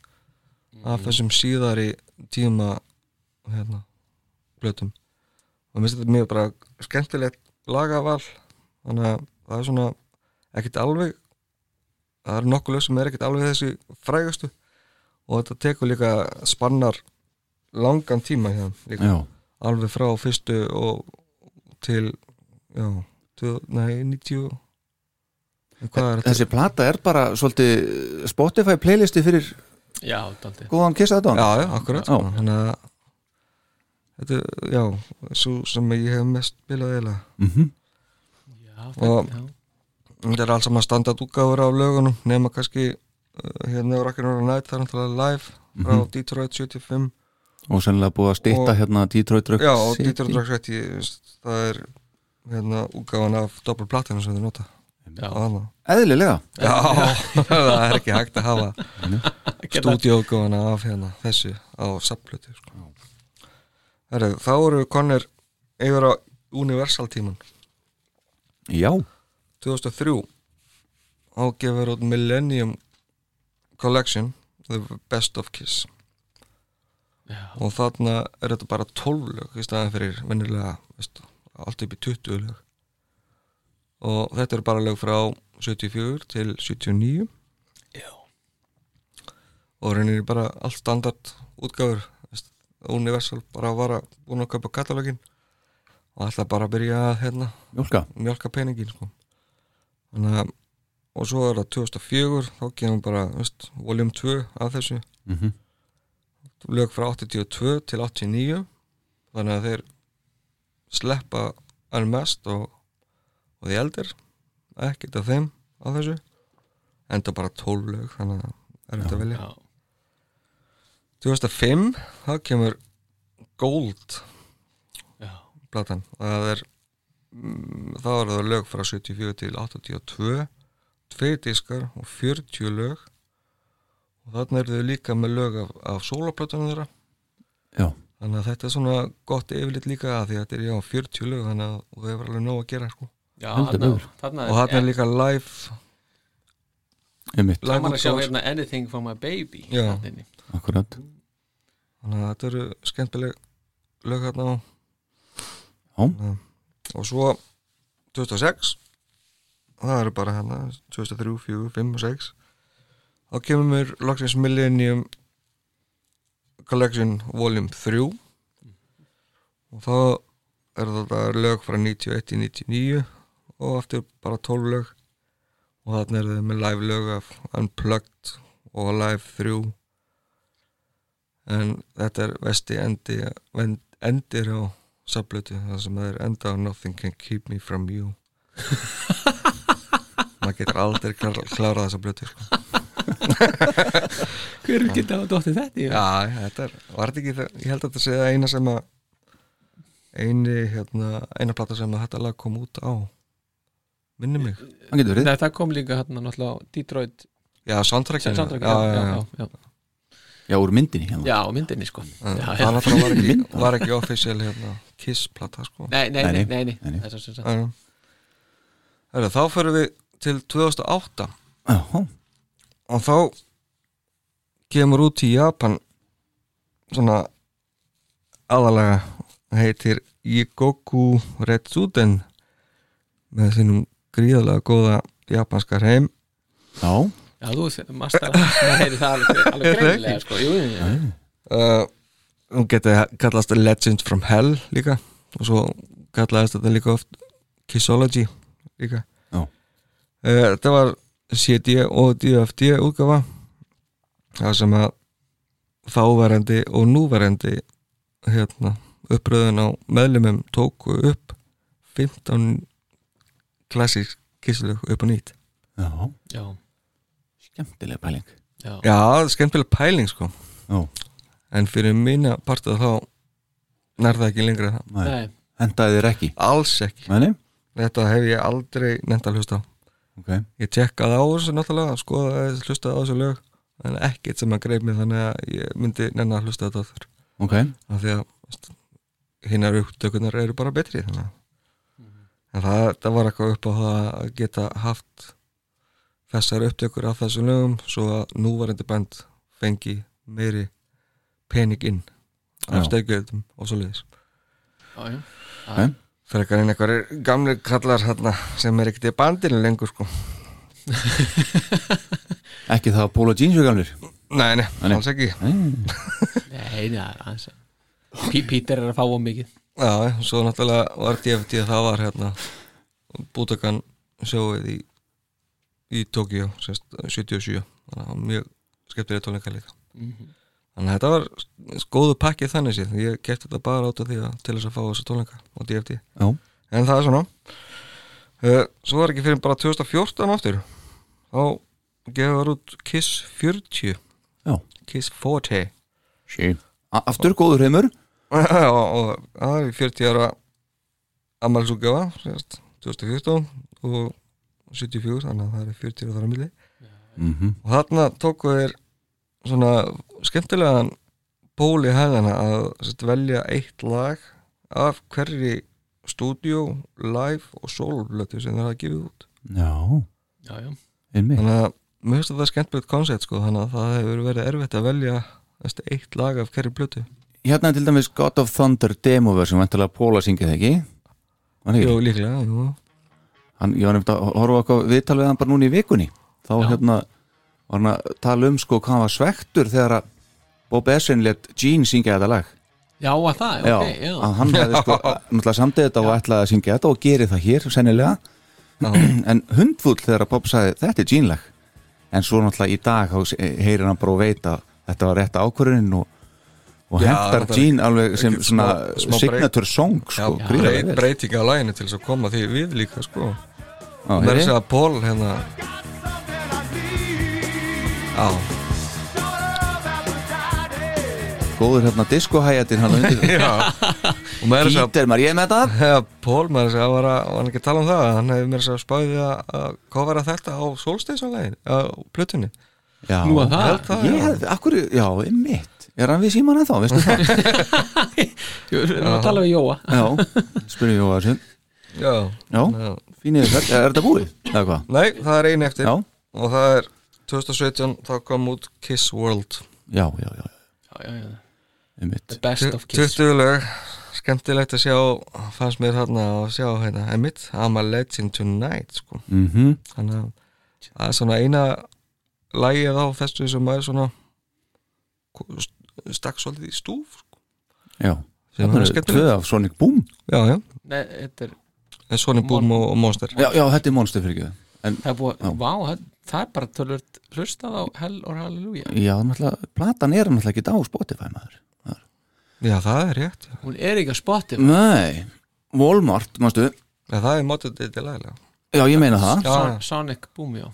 af þessum síðari tíma hérna, blötum og mér finnst þetta mjög bara skemmtilegt lagaval þannig að það er svona ekkert alveg það er nokkuð lög sem er ekkert alveg þessi frægastu og þetta tekur líka spannar langan tíma hérna líka,
já
alveg frá fyrstu og til já, tvö, nei, 90 en hvað er þetta?
Þessi plata er bara svolítið Spotify playlisti fyrir
já, daldi
góðan kissa þetta
Já, já, akkurat
Já.
þannig að þetta, er, já, svo sem ég hef mest spilað eiginlega
mm -hmm.
já,
Og-
já.
þetta er alls saman standard útgáfur af lögunum nema kannski uh, hérna á Rockin' Night það er náttúrulega live frá
Mhm.
Detroit 75
og sennilega búið að stýta
Og-
hérna Detroit Rock
já og
City.
Detroit Rock City veist, það er hérna útgáfan af doppel platinu sem þau nota
Já.
á þarna.
eðlilega
já, það er ekki hægt að hafa stúdíógóðana af hérna þessu á saplutu sko. Herru, þá eru við konir yfir á Universal tíman
já,
2003 ágefur út Millennium Collection The Best of Kiss
Já.
og þarna er þetta bara 12 lög í staðan fyrir venjulega veist, allt upp í 20 lög og þetta eru bara lög frá 74 til 79
Já.
og reynir bara allt standard útgáfur veist, Universal bara var að búin að kaupa katalógin og alltaf bara að byrja að hérna
mjólka
mjölka peningin sko. þannig að og svo er það 2004 þá kemur bara veist, voljum 2 af þessu
mm
Mhm.
lög frá 82 til 89 þannig að þeir sleppa Unmasked og, og The Elder ekkert af þeim af þessu enda bara 12 lög þannig að er þetta velja
Já.
2005 þá kemur Gold
Já.
platan það er mm, þá er það lög frá 74 til 82 tveir diskar og 40 lög og þarna eru þau líka með lög af, af sólaplatunum þeirra
Já.
þannig að þetta er svona gott yfirlit líka að því að þetta er já 40 lög þannig að og þau hefur alveg nóg að gera sko.
Já,
Heldur
þarna-
betur.
þarna
og þarna er
er
líka live,
einmitt,
live
gaman að sjá
útgáfur.
hérna Anything for my baby
Já.
þarna inni.
akkurat
þannig að þetta eru skemmtileg lög hérna á
Já.
og svo 2006 það eru bara hérna 2003, 4, 5 og 6 þá kemur mér loksins Millennium Collection Volume 3 og þá er þetta lög frá 91 til 99 og aftur bara 12 lög og þarna er þau með live lög af Unplugged og Live 3 en þetta er vesti endi vend- endir á sablötu það sem það er enda á Nothing Can Keep Me From You maður getur aldrei klar, klárað þessa blötu sko.
Hver geta að dótti þetta í?
já, þetta er, var þetta ekki það ég held að þetta sé það eina sem að eini, hérna, eina plata sem að þetta lag kom út á minni mig
hann getur verið
Nei, það kom líka hérna náttúrulega á Detroit
já, soundtrackinu
soundtrack,
já, já, já, já.
já,
já, úr myndinni hérna
já, á myndinni sko
En
Já,
það
já.
náttúrulega var ekki, var ekki official hérna, Kiss plata sko
Nei, nei,
Nei,
nei,
nei.
nei, nei.
Nei, nei.
Það er svo sem sagt.
En- Herra, þá fyrir við til 2008
já,
og þá kemur út í Japan svona aðalega heitir Jigoku Retsuden með sínum gríðalega góða japanskar heim
já,
Já, þú mastar maður heyri það alveg,
Er
alveg
það
greinilega sko Jú, jú, jú.
uh, hún geti kallast Legends from Hell líka og svo kallaðist þetta líka oft Kissology líka
Já.
Eh, þetta var CD og DFD útgafa það sem að þáverandi og núverandi hérna, uppröðun á meðlumum tóku upp 15 klassísk kisslög upp og nýtt
já
Já,
skemmtilega pæling
já,
Já, það er skemmtileg pæling sko
Já.
En fyrir mína partið þá nær það ekki lengra það
Nei.
nei,
hendaði þér ekki
Alls ekki
Nei, nei.
Þetta hef ég aldrei nefnt að hlusta á
ok,
Ég tekkaði á þessu náttúrulega skoðaði, hlustaði á þessu lög En ekkert sem að greif mig þannig að ég myndi nefn að hlusta þetta þurr
ok
Af því að veist, hinnar upptökunar eru bara betri þannig að En það, það var eitthvað upp á það að geta haft þessar upptökur af þessum lögum svo að núvarandi band fengi meiri pening inn af
Já.
stegjöldum og svo leiðis
já, já.
frekar en einhverjir gamli kallar hérna sem er ekkert í bandinu lengur sko
ekki það að Póla Jeans við gamlir
nei, nei,
Nei, nei.
alls ekki
Nei, nei, aðeins P- Peter er að fá of mikið
já, svo náttúrulega var DFT það var hérna bútakan sjóið í í Tokjó, sérst, 77 þannig að það var mjög skemmtilega tónleika líka þannig að þetta var s- góðu pakki þannig séð, ég gett þetta bara át af því að til þess að fá þessa tónleika og DFT
já,
en það er svona Eh, Svo var ekki fyrir bara 2014 aftur Þá gefur út Kiss 40
Já.
Kiss 40
Shit. Aftur góður heimur
og og það er 40 ára ammælsúkjafa 2014 og 74 þannig að það er 40 ára þar á milli
Mhm.
og þarna tóku þeir svona skemmtilegan ból í hæðana að sett, velja eitt lag af hverri stúdíó, live og sólblötu sem þeir hafa gefið út
Já,
já, já.
einmitt
þannig að mér finnst þetta skemmtilegt koncept sko, þannig að það hefur verið erfitt að velja veist, eitt lag af hverri blötu
Hérna er til dæmis God of Thunder demover sem vantilega Póla syngið ekki Var hann ekki?
Jú, líklega, jú
hann, ég var nefnd að horfa okkur viðtal við hann bara núna í vikunni þá hérna var hann að tala um sko hvað hann var svektur þegar að Bob Essin let Gene syngja þetta lag
já að það, ok, já,
að hann hefði sko náttúrulega samdið þetta og ætlaði að syngja þetta og geri það hér sennilega en hundfull þegar að Bob sagði þetta er Gene lag en svo náttúrulega í dag þá se- heyrir hann bara og veit að þetta var rétt ákvörðin og, og
Já,
hentar
þetta er
Gene alveg sem
ekkert
svona
smá- smá break.
signature song
Já,
sko, gríðarlega
breyt,
vel.
breytinga á læginu til þess að koma því við líka sko
Já,
Það er
heyri.
þess að Paul hérna Já,
góður hérna diskohæjatin hann undir
já Og maður er þess að
Peter, maður ég er með þetta
Þegar Pól maður segja var, að, var hann ekki að tala um það hann hefði mér að spáði því að, að kofara þetta á solsteinsanlegin á plötunni
Já,
Nú að það?
Held það,
Ah, ég
já.
hefði, akkur, já, mitt Er hann við síman ennþá, veistu það?
Jú, við erum að tala við Jóa
já, spurði ég á þessu
Já,
Já,
Já.
fínir þess, er þetta búið? Eða hvað?
Nei, það er einu eftir
Já,
og það er 2017 þá kom út Kiss World
já, já, já,
já, já, já.
um mitt
the best of kiss
20 lög skemmtilegt að sjá fannst mér þarna að sjá hérna Emmitt, I'm a legend tonight sko
mm
þannig að það er svona eina lægið á þessu sem maður svona st- stakk svolítið í stúf sko.
Já,
sem
það
er
er
skemmtilegt
tvöð af Sonic Boom
já, já,
Nei, þetta er,
en Sonic Boom og, og Monster
Já, já, þetta er monster fyrir ekki
það er búið,
Já.
vá, það, það er bara tölvöld hlustað á Hell or Hallelujah
Já, náttúrulega, platan er náttúrulega ekki á Spotify maður
já, það er rétt, já,
hún er ekki að
Mm.
spotti
Nei, Walmart, mástu
Já, það er mótið til lægilega
Já, ég meina það
já.
Sonic Boom, já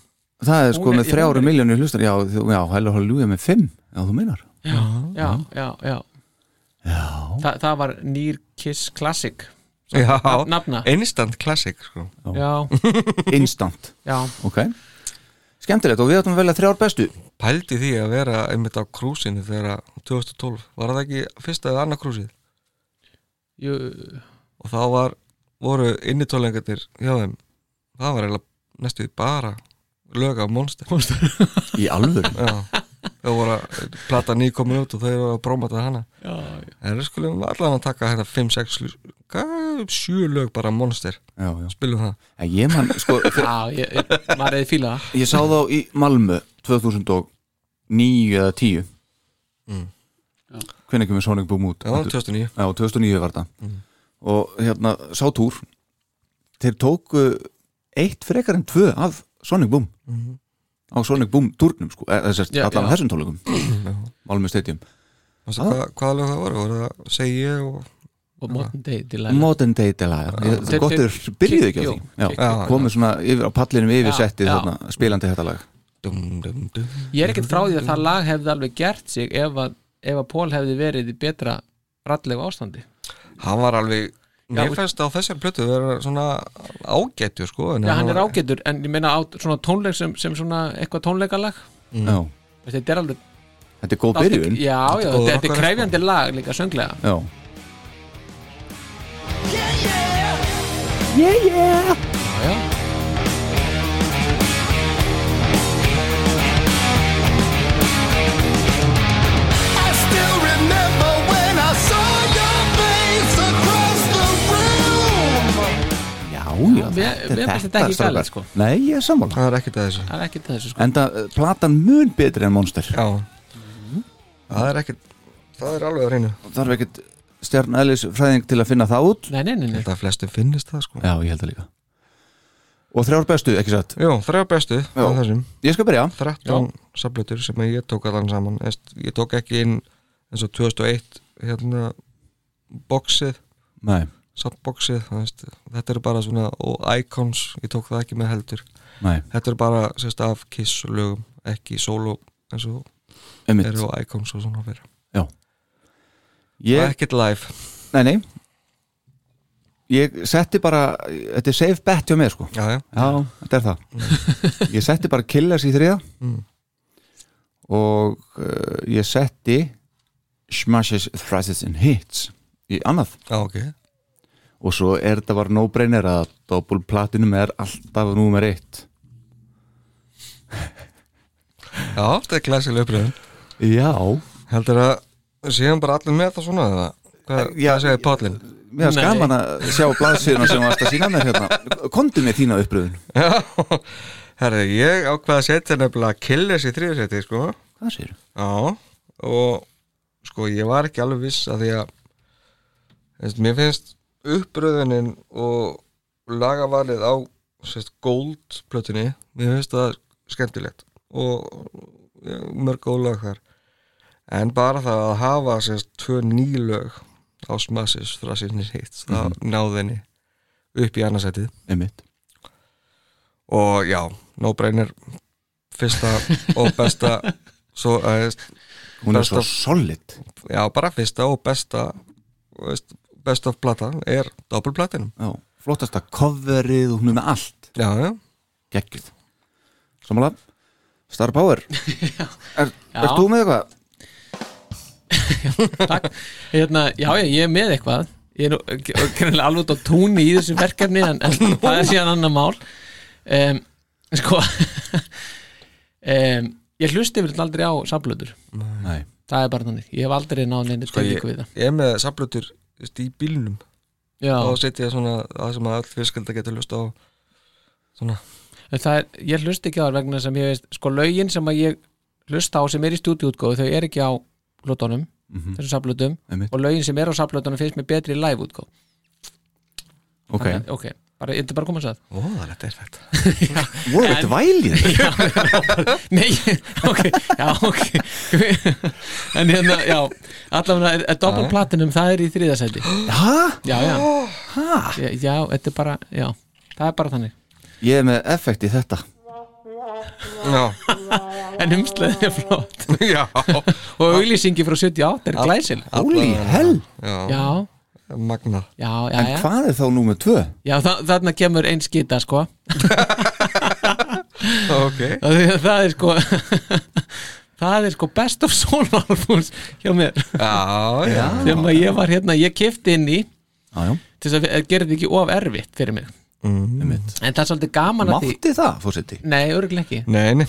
Það er sko
Hún er-
með þrjáru
hún er-
miljónu hlustar Já, þú- já, hælu hálfjúið með fimm Já, þú meinar
já, já, já, já. Þa, það var Nýr Kiss Classic
já,
nafna,
instant classic sko.
já,
Instant,
já
ok Skemmtilegt og við ætlum að velja þrjár bestu
pældi því að vera einmitt á krúsinu þegar að- 2012, var það ekki fyrsta eða annað krúsið
Jú,
og þá var, voru innitólengatir hjá þeim, það var eiginlega næstu því bara lög af Monster
Í alvöru?
Já, þau voru að plata ný komin út og þau voru að brómata hana
já, já,
en við skulum allan að taka hérna 5-6 7 lög bara monster
Já, já.
spilum það
En ég man, sko, þegar-
já ég, ég, maður eða fíla það
ég sá þá í Malmö 2009 eða 10 Hvernig kemur Sonic Boom út?
Mm. Já, Mm. 2009
Já, 2009 var það Og hérna, sá túr Þeir tóku eitt frekar en tvö af Sonic Boom
Mhm.
Á Sonic Boom túrnum, sko eða sem sagt,
Já,
Allan
já.
þessum tólukum Malmö Stadium
Manstu
Ah.
hvað, hvaða lög það voru? voru það segi ég og
og modern day delight
Modern Day Delight
Þeir-
Gott er
þeir-
byrjuð ekki á
jú,
því Já,
kick-
Já,
komið svona yfir á pallinum yfir
Já,
settið
já.
þarna, spilandi þetta lag
dum, dum, dum.
ég er ekkert frá því að það lag hefði alveg gert sig ef að, ef að Pól hefði verið í betra rallegu ástandi
hann var alveg
Já,
mér
og-
fannst á þessari plötu vera svona ágættur sko en
já, hann er
var-
ágætur, en ég meina á svona tónleik sem, sem svona eitthvað tónleikalag
Mm.
Já,
þetta er alveg
þetta er góð byrjun
góður
já, já, þetta, þetta er
rockari,
krefjandi lag líka sönglega
Já
I still remember when I saw your face across the room.
Já, já,
mér- mér finnst þetta ekki
strákar.
galið, sko.
Nei, ég er sammála
það er ekkert að þessu
það er ekkert að þessu sko
En það, platan mun betri en Monster
já
Mhm.
það er ekkert það er alveg að reynu
Þarf ekkert stjarn eðlis fræðing til að finna það út
nei, nei, nei, nei.
þetta flestu finnist það sko
Já, ég held það líka Og þrjár bestu, ekki satt
Jú, þrjá bestu
Já.
af þessum
Ég skal byrja
13 sablötur sem að ég tók allan saman Eðst, ég tók ekki inn eins og 2001 hérna boxið
Nei,
subboxið, þú veist, þetta eru bara svona og icons, ég tók það ekki með heldur
Nei,
þetta eru bara sérst af kiss lögum, ekki solo eins og
einmitt
eru á icons og svona fyrir yeah.
ég,
ekkert live,
Nei, nei Ég setti bara Þetta er safe bet hjá mér sko
já já
Já, þetta er það Ég setti bara Killers í þriða
Mm.
og uh, ég setti Smashes, Thrashes and Hits í annað
Já, ok,
og svo er þetta bara no-brainer að doppul platinum er alltaf númer eitt
já, þetta er glæsileg uppröðun
Já
Heldur að séum bara allir með það svona eða? Hvað,
Já,
hvað segir Pállin?
Mér er
Nei.
skaman að sjá blaðsýðuna sem varst að sína mér hérna Komdu með þína uppröðun
Já, herri, ég ákvað að setja nefnilega Killers í þriðsæti, sko
Hvað sér?
Já, og sko, ég var ekki alveg viss að því að veist, mér finnst uppröðunin og lagavalið á sérst, gold plötunni, mér finnst það skemmtilegt og ja, mörg góð lög þar en bara það að hafa sérst, tvö nýlög á smassis frá sinni hitt, það mm náðinni upp í annarsætið
Einmitt
og já, no brainer fyrsta og besta svo, uh,
Hún er
Besta-
svo solid
já, bara fyrsta og besta þú veist, best of plata er doppelplatinum
Já, flottasta coverið og hún er með allt
já, já,
Gekkið Samanlega, Star Power Er, er þú með eitthvað?
Takk. hérna, já, já, ég er með eitthvað ég er nú greinlega alveg út á túnni í þessu verkefni en, en það er síðan annar mál um, sko um, ég hlusti yfir aldrei á samblöður
Nei
það er bara þannig, ég hef aldrei náð neynir
Sko,
sko, við það
ég er með saflutur í bílnum og
já,
setja svona það sem að all fyrskölda getur lust á svona,
en það er, ég hlusti ekki á það vegna sem ég veist, sko lögin sem að ég hlusta á sem er í stúdíútgóðu þau er ekki á plötunum, þessum samblöðum
Mhm. Einmitt.
og lögin sem er á samblöðunum finnst mér betri í live útgóð
Ok,
ok, bara, þetta er bara að koma að
ó, það er perfekt
voru þetta vælið?
Nei, ok, já, ok En hérna, já Allavega, doppel platinum, það er í þriðasæti
Hæ?
Já, já Já, já, þetta er bara, já Það er bara þannig
Ég er með effekt í þetta
já,
En umslæðið er flott
já,
Og auglýsingi frá 78 er glæsil
Holy hell
já,
Já,
magna
já, já,
En
já
hvað er þá númer tvö?
Já, þa þarna kemur einn skita, sko
ok,
Það er- það er sko Það er sko best of soul albums hjá mér
já, já
Ah.
sem að ég var hérna, ég kefti inn í
Já, já,
til þess að gera þetta ekki of erfitt fyrir mig
einmitt
en það er svolítið gaman að því
Mátti það, fórseti?
Nei, örgulega ekki
nei, nei,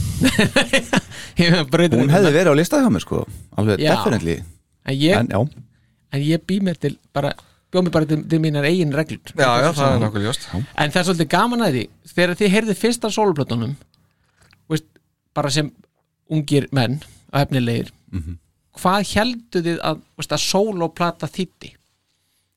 Ég braut
Hún
þetta.
hefði verið á lista hjá mér sko Alveg
Já.
definitely
en, ég,
En
en,
já,
ég bý mér til bara, bjóð mér bara til, til mínar eigin reglur
já, já, það er nokkuð ljóst
En það er svolítið gaman að því Þegar þið heyrðið fyrst af sóluplötunum veist, bara sem ungir menn og efnilegir
Mhm.
hvað heldur þið að, veist, að sóloplata þýtti?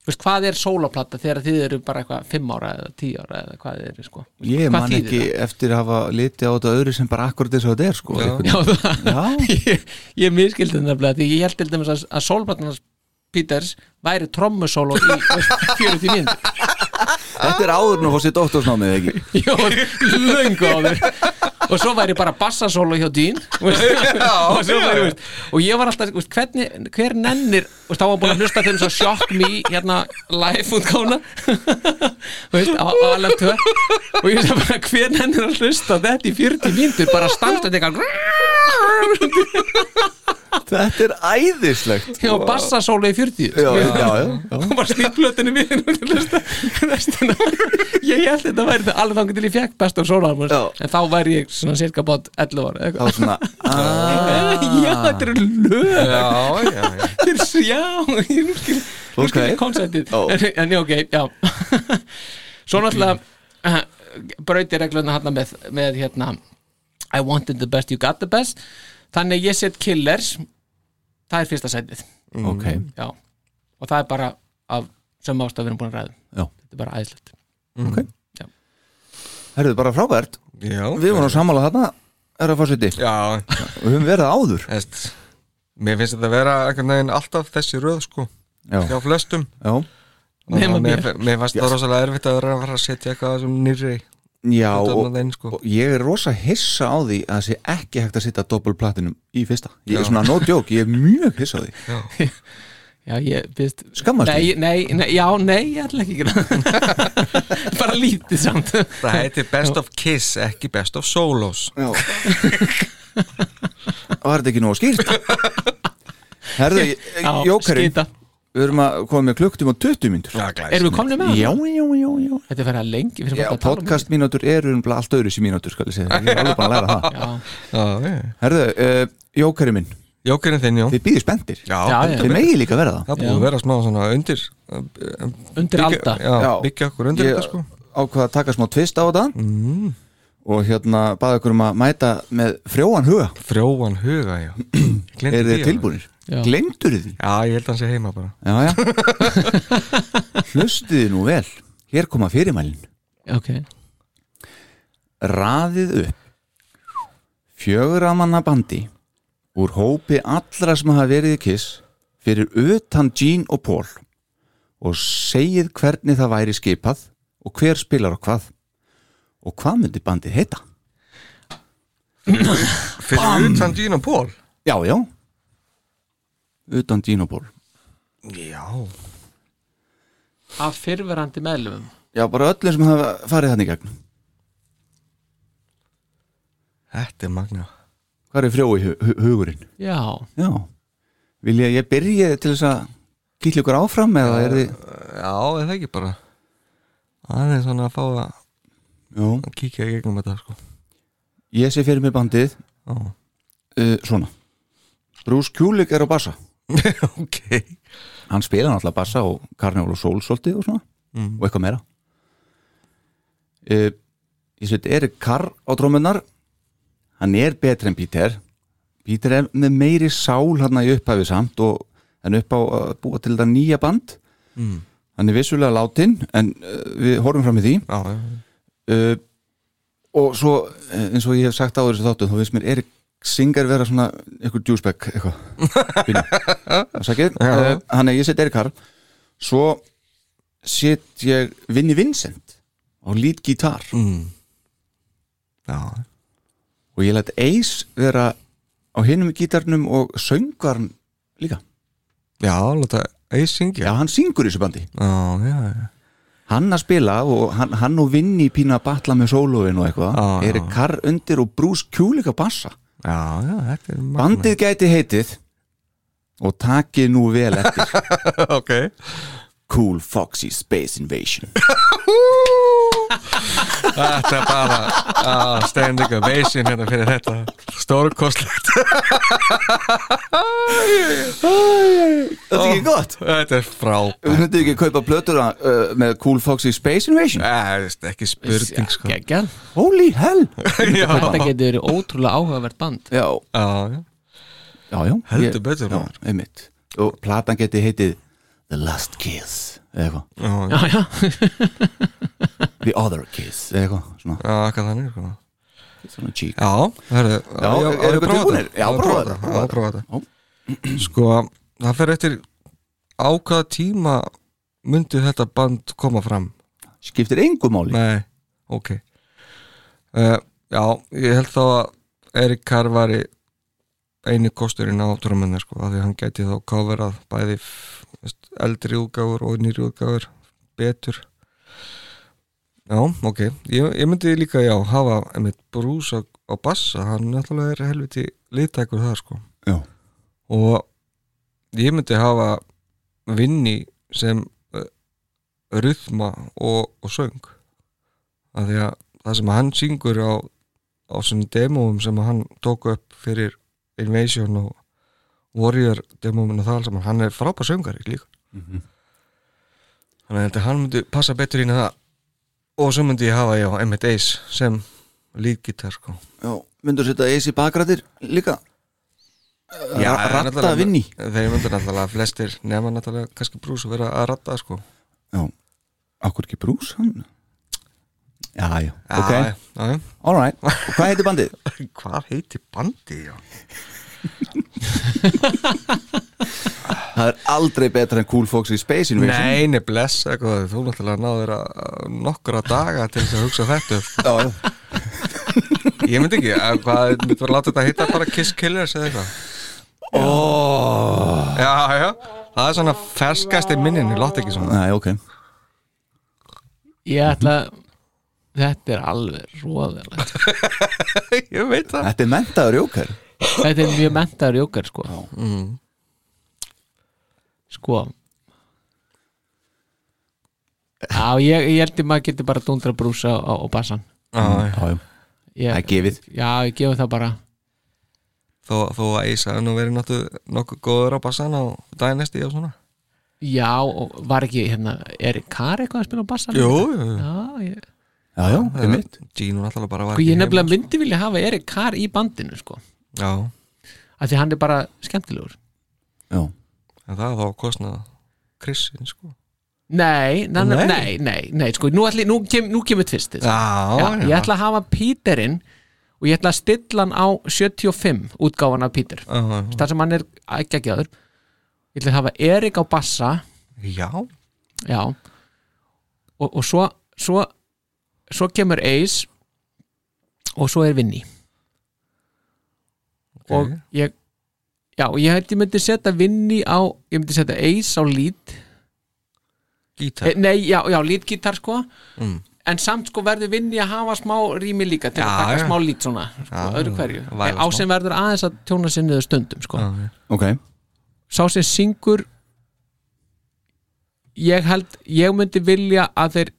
Veist, hvað er sóloplata þegar þið eru bara eitthvað 5 ára eða 10 ára eða hvað þið eru sko?
ég
Hvað
man
þýðir
ekki eftir að hafa litið á þetta öðru sem bara akkurat þess að þetta er sko
Já.
einhvern
Já,
veginn.
það,
Já.
ég, ég miskildi þetta nefnilega því ég held til dæmis að, að sólbarnarnas Peters væri trommusólo í veist, 40 mínútur
Þetta er áður nú fórsið doktorsnámið ekki
Jó, löngu áður og svo væri bara bassasólo hjá Dín veist, og, svo væri, veist, og ég var alltaf veist, hvernig, hver nennir veist, þá var búin að hlusta til þess að shock me hérna live útkána veist, á, á alveg tvö og ég sagði bara hver nennir að hlusta á þetta í 40 mínútur bara stannstönd eitthvað
Þetta er æðislegt
Já, bassasólu í 40
Já, já, já, já.
Hún bara snýtt plötunni við og hlusta restina. Ég held þetta væri það alveg þangur til ég fekk best of sóla
Já.
En þá væri ég svona cirka bát 11 ára eða eitthvað.
Það var svona ah,
Já, þetta eru lög
já, já, já,
Þetta er svo, já Ég nú skil, nú skil
Ok.
ég konceptið
Já.
en, en já, ok, já Svo náttúrulega eh, brauti regluna hérna með, með hérna I wanted the best, you got the best Þannig að ég set killers Það er fyrsta sætið
Mm. Ok,
já. og það er bara af sem ástaf við erum búin að ræða um.
Já.
þetta er bara æðislegt
herruðu bara frábært
já
Við vorum sammála þarna, herra fórseti
já,
Og við höfum verið áður
Eðst, mér finnst þetta að vera einhvern veginn alltaf þessi röð sko,
Já,
hjá flestum
já,
Og
Nema
mér
mér.
mér fannst það rosalega erfitt að vera að fara að setja eitthvað sem nýrri
Já,
Þetta er
og,
annað eins, sko.
og ég er rosa hissa á því að það sé ekki hægt að sitta doppel platinum í fyrsta Ég er svona no joke, ég er mjög hissa á því
Já, ég byrst
Skammast
nei,
því
nei, nei, já, nei, ég ætla ekki að gera það. Bara lítið samt
Það heitir Best of Kiss, ekki Best of Solos
Já. Var þetta ekki nóg skýrt? Herðu, ég-
Já,
jókerinn
skita.
Við erum að koma með klukktum á 20 mínútur Já,
Erum við komnir með það?
já, já, já
Þetta er fyrir að lengi Við erum
Já,
alltaf að tala um
podcast mínútur eru um allt öðru sem mínútur, skal ég segja Ég er alveg bara að læra það
þetta.
Herðu, uh, jókerinn minn,
Jókerinn þinn, já
þið býðir spenntir
Já,
Já, já.
Þið megi líka vera það
það búið að vera smá svona undir eh, eh,
Undir
byggja-
alda.
Já, byggja okkur undir
Ég
þetta sko
ákvað að taka smá tvist á þetta og hérna baði okkur um að mæta með frjóan huga
Frjóan huga, já
er þið tilbúinir?
Já.
Glemdur því?
Já, ég held að hann sé heima bara
Já, já Hlustiði nú vel Hér koma fyrirmælin
Já, ok
Raðið upp Fjögramanna bandi úr hópi allra sem hafa verið í kiss fyrir utan Jean og Paul og segið hvernig það væri skipað og hver spilar og hvað og hvað myndi bandið heita?
Fyrir utan Dín og Pól
Já, já Utan dínóból
Já,
Af fyrverandi meðlumum
Já, bara öllum sem hafa farið þannig gegn
þetta er magna
Hvað er frjói hu hu hugurinn?
Já,
Já Vilja ég byrja til þess að kýtla ykkur áfram eða er þið
Já, er það ekki bara Aðeins svona að fá að
Já
kíkja í gegnum þetta sko
Ég sé fyrir mig bandið
Já,
uh, Svona Bruce Kulik er á bassa
ok
Hann spila náttúrulega bassa og Carnival og Soul svolítið og svona og eitthvað meira uh, Ég sveit Erik Carr á trómunar Hann er betri en Peter Peter er með meiri sál hann í upphafi samt og hann upp á að búa til þetta nýja band Hann er vissulega látin en uh, við horfum fram í því
Já, já,
uh, og svo eh, eins og ég hef sagt áður þessu þáttu þá finnst mér Erik Singer vera svona eitthvað djúsbæk eitthvað Pínu. Afsakið. uh, hann er ég set Erik Harr svo set ég Vinni Vincent á lead gitar
Mm. já
og ég let Ace vera á hinum gítarnum og söngvarn líka
Já, láta Eis syngja
já hann syngur í þessu bandi
Já, já, já
hann að spila og hann, hann og Vinni pína að batla með sólóin og eitthvað
Já, já.
Erik Harr undir og Bruce Kulik að bassa
Já, já, þetta er magna
Bandið gæti heitið og takið nú vel eftir
Ok
Cool Foxy Space Invasion
Þetta er bara að standing ovation hérna fyrir þetta Stórkostlegt
Þetta er ekki gott
Þetta er frábært
Við myndum ekki kaupa plötur uh, með Cool Foxy Space Invasion
Það er ekki spurning sko Já,
geggjað
Eh? Holy hell
Þetta getur verið ótrúlega áhugavert band
Já,
já
já, já
Heldur
ég-
betur,
Já,
maður.
einmitt Og platan geti heitið The Last Kiss eða eitthvað
Já,
Já, já
The Other Kiss eða eitthvað Svona,
Já, hvað þannig sko
svona cheek
Já, hörðu Já,
eru ykkur tilbúnir? Já, prófa þetta,
Já, prófa þetta Sko, það fer eftir á hvaða tíma myndi þetta band koma fram
Skiptir engu máli
Nei, ok uh, Já, ég held þá að Erik Karr var í eini kosturinn á trómunni sko, af því að hann gæti þá coverað bæði f- veist, eldri útgáfur og nýri útgáfur betur Já, ok ég, ég myndi líka, já, hafa einmitt brús á, á bassa, hann náttúrulega er helviti litækur þar sko
Já.
og ég myndi hafa vinni sem uh, rytma og, og söng af því að það sem hann syngur á, á svona demóum sem hann tók upp fyrir Invasion og Warrior demóum og það alls saman, hann er frábær söngari líka
Mhm.
þannig að ég held að hann myndi passa betur inn í það og svo myndi ég hafa já, Emmett Ace sem líðgitar sko
Já, myndur setja Ace í bakrættir líka Já,
það er
ratta
náttúrulega-
Vinni
Þeir myndu náttúrulega flestir nema náttúrulega kannski brús að vera að ratta sko
Já, akkur ekki Bruce hann Já, já,
Já,
ok,
já, já, já.
alright Og hvað heitir bandið?
Hvað heitir bandið já?
það er aldrei betra en Cool Fox í Space Invasion
Nei, nei, bless eitthvað, þú náttúrulega náður að nokkura daga til þess að hugsa þetta upp.
Já,
Ég myndi ekki, að hvað, myndi bara láta þetta hitta bara Kiss Killers eða eitthvað oh. Já, já, það er svona ferskast í minninni, láta ekki svona
Nei, ok
Ég ætla Þetta er alveg roðalegt
Ég veit það
Þetta er mentaður jókar
Þetta er mjög mentaður jókar sko Sko Já, ég, ég held ég maður geti bara dundra brúsa og, og bassan
Já, já.
ég,
Já, já, það er gefið
Já, ég gefi það bara
Þó, þó að Ísa nú verið náttu nokkuð góður á bassan á dænesti og svona
Já, og var ekki hérna Er Kar eitthvað að spila á bassan?
Jú, jú, jú.
Já, ég,
Já, já, ég mitt
Gino náttúrulega bara var
sko, ég
heima.
nefnilega myndi vilja hafa Erik Kar í bandinu sko
Já,
af því hann er bara skemmtilegur
Já,
en það þá kostnaði Krissin, sko
Nei, na, nei,
Nei.
nei, nei, nei sko, nú, ætli, nú, kem, nú kemur tvistið
Já,
Já, ég ætla að hafa Píterinn og ég ætla að stilla hann á 75 útgáfan af Píter
Já, já.
þar sem hann er ekki ekki aður ég ætla að hafa Erik á bassa
Já,
já og, og svo, svo svo kemur Ace og svo er Vinny og ég já, og ég held ég myndi setja Vinny á ég myndi setja Ace á lead
gítar
eh, nei, já, já, lead gítar sko
Mm.
en samt sko verður Vinny að hafa smá rými líka til
Já,
að taka
já.
smá lead svona sko,
Já,
öðru hverju,
væla
á
smá.
sem verður aðeins að tjóna sinniðu stundum sko
Já, já.
ok
sá sem syngur ég held ég myndi vilja að þeir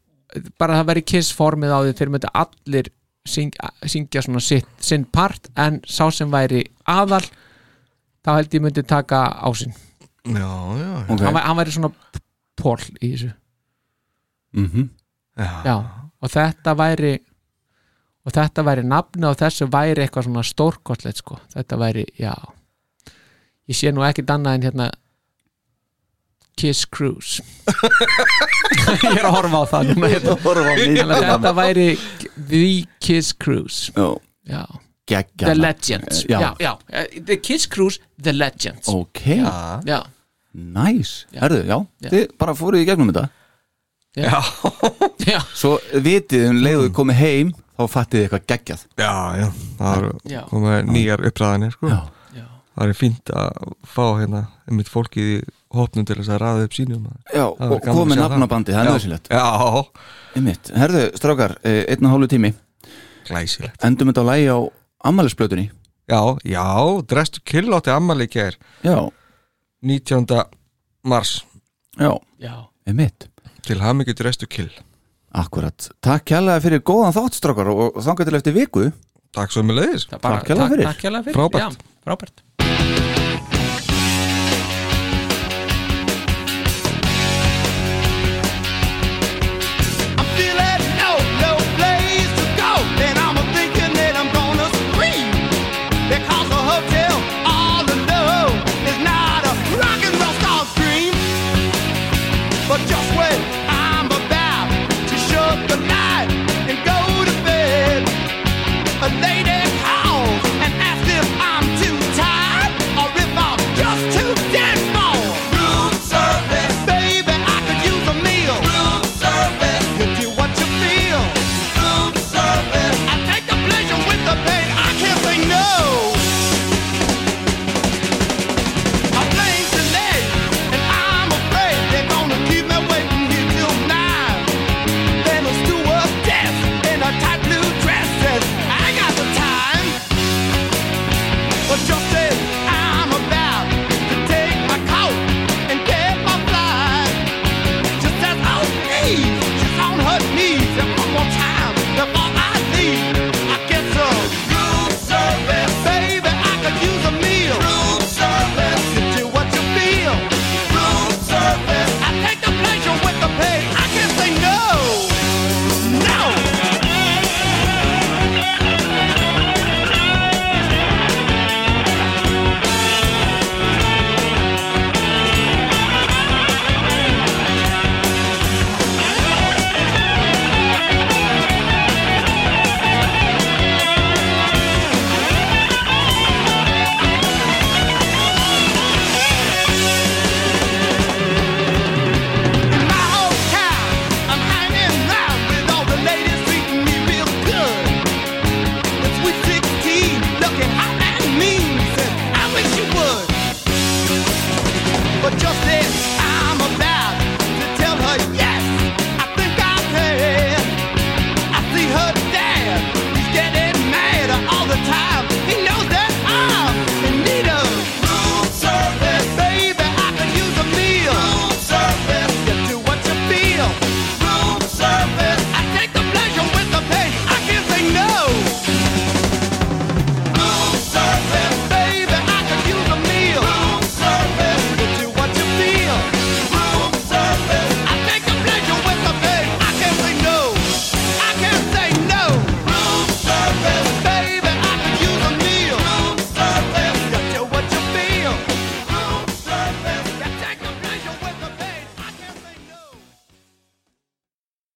bara það veri kiss formið á því þeir myndi allir syngja, syngja svona sitt, sinn part en sá sem væri aðal þá held ég myndi taka á sinn
Já, já, já
Ok,
hann, væ- hann væri svona pól í þessu
mhm
já, og þetta væri og þetta væri nafni og þessu væri eitthvað svona stórkostlegt sko þetta væri, já ég sé nú ekkit annað en hérna Kiss Cruise ég er að horfa á það núna hérna.
Horfa á
Þannig að þetta væri The Kiss Cruise
Já,
já. The
geggjala
Legends
Já.
Já, já. Eh, The Kiss Cruise, The Legends
Ok,
já,
næs
Já.
Herðu, já,
Já.
þið bara fóruð í gegnum þetta
já,
Svo vitið um leiðuð komið heim Þá fattið þið eitthvað geggjað
Já, já, það
Já.
eru komið nýjar uppræðanir sko.
Já.
já.
Það er fínt að fá hérna einmitt fólkið í hópnum til þess að ræða upp sínum
Já,
Það
og
væri gaman að
komið
sjá það.
nafnabandi, það er nöðsilegt
Já,
Einmitt, herðu, strákar, eh, einn og hálfu tími
glæsilegt
Endum þetta á lægi á ammælisblötunni
Já, já, Drestur Kill átti ammali í gær
Já,
19. mars
já,
já.
einmitt
til hamingi Drestur Kill
Akkurat, takk kjærlega fyrir góðan þátt strákar og þangað til eftir viku
Takk svo með leiðis
Það bara-
Takk hérlega fyrir.
takk hérlega fyrir.
Frábært.
já, frábært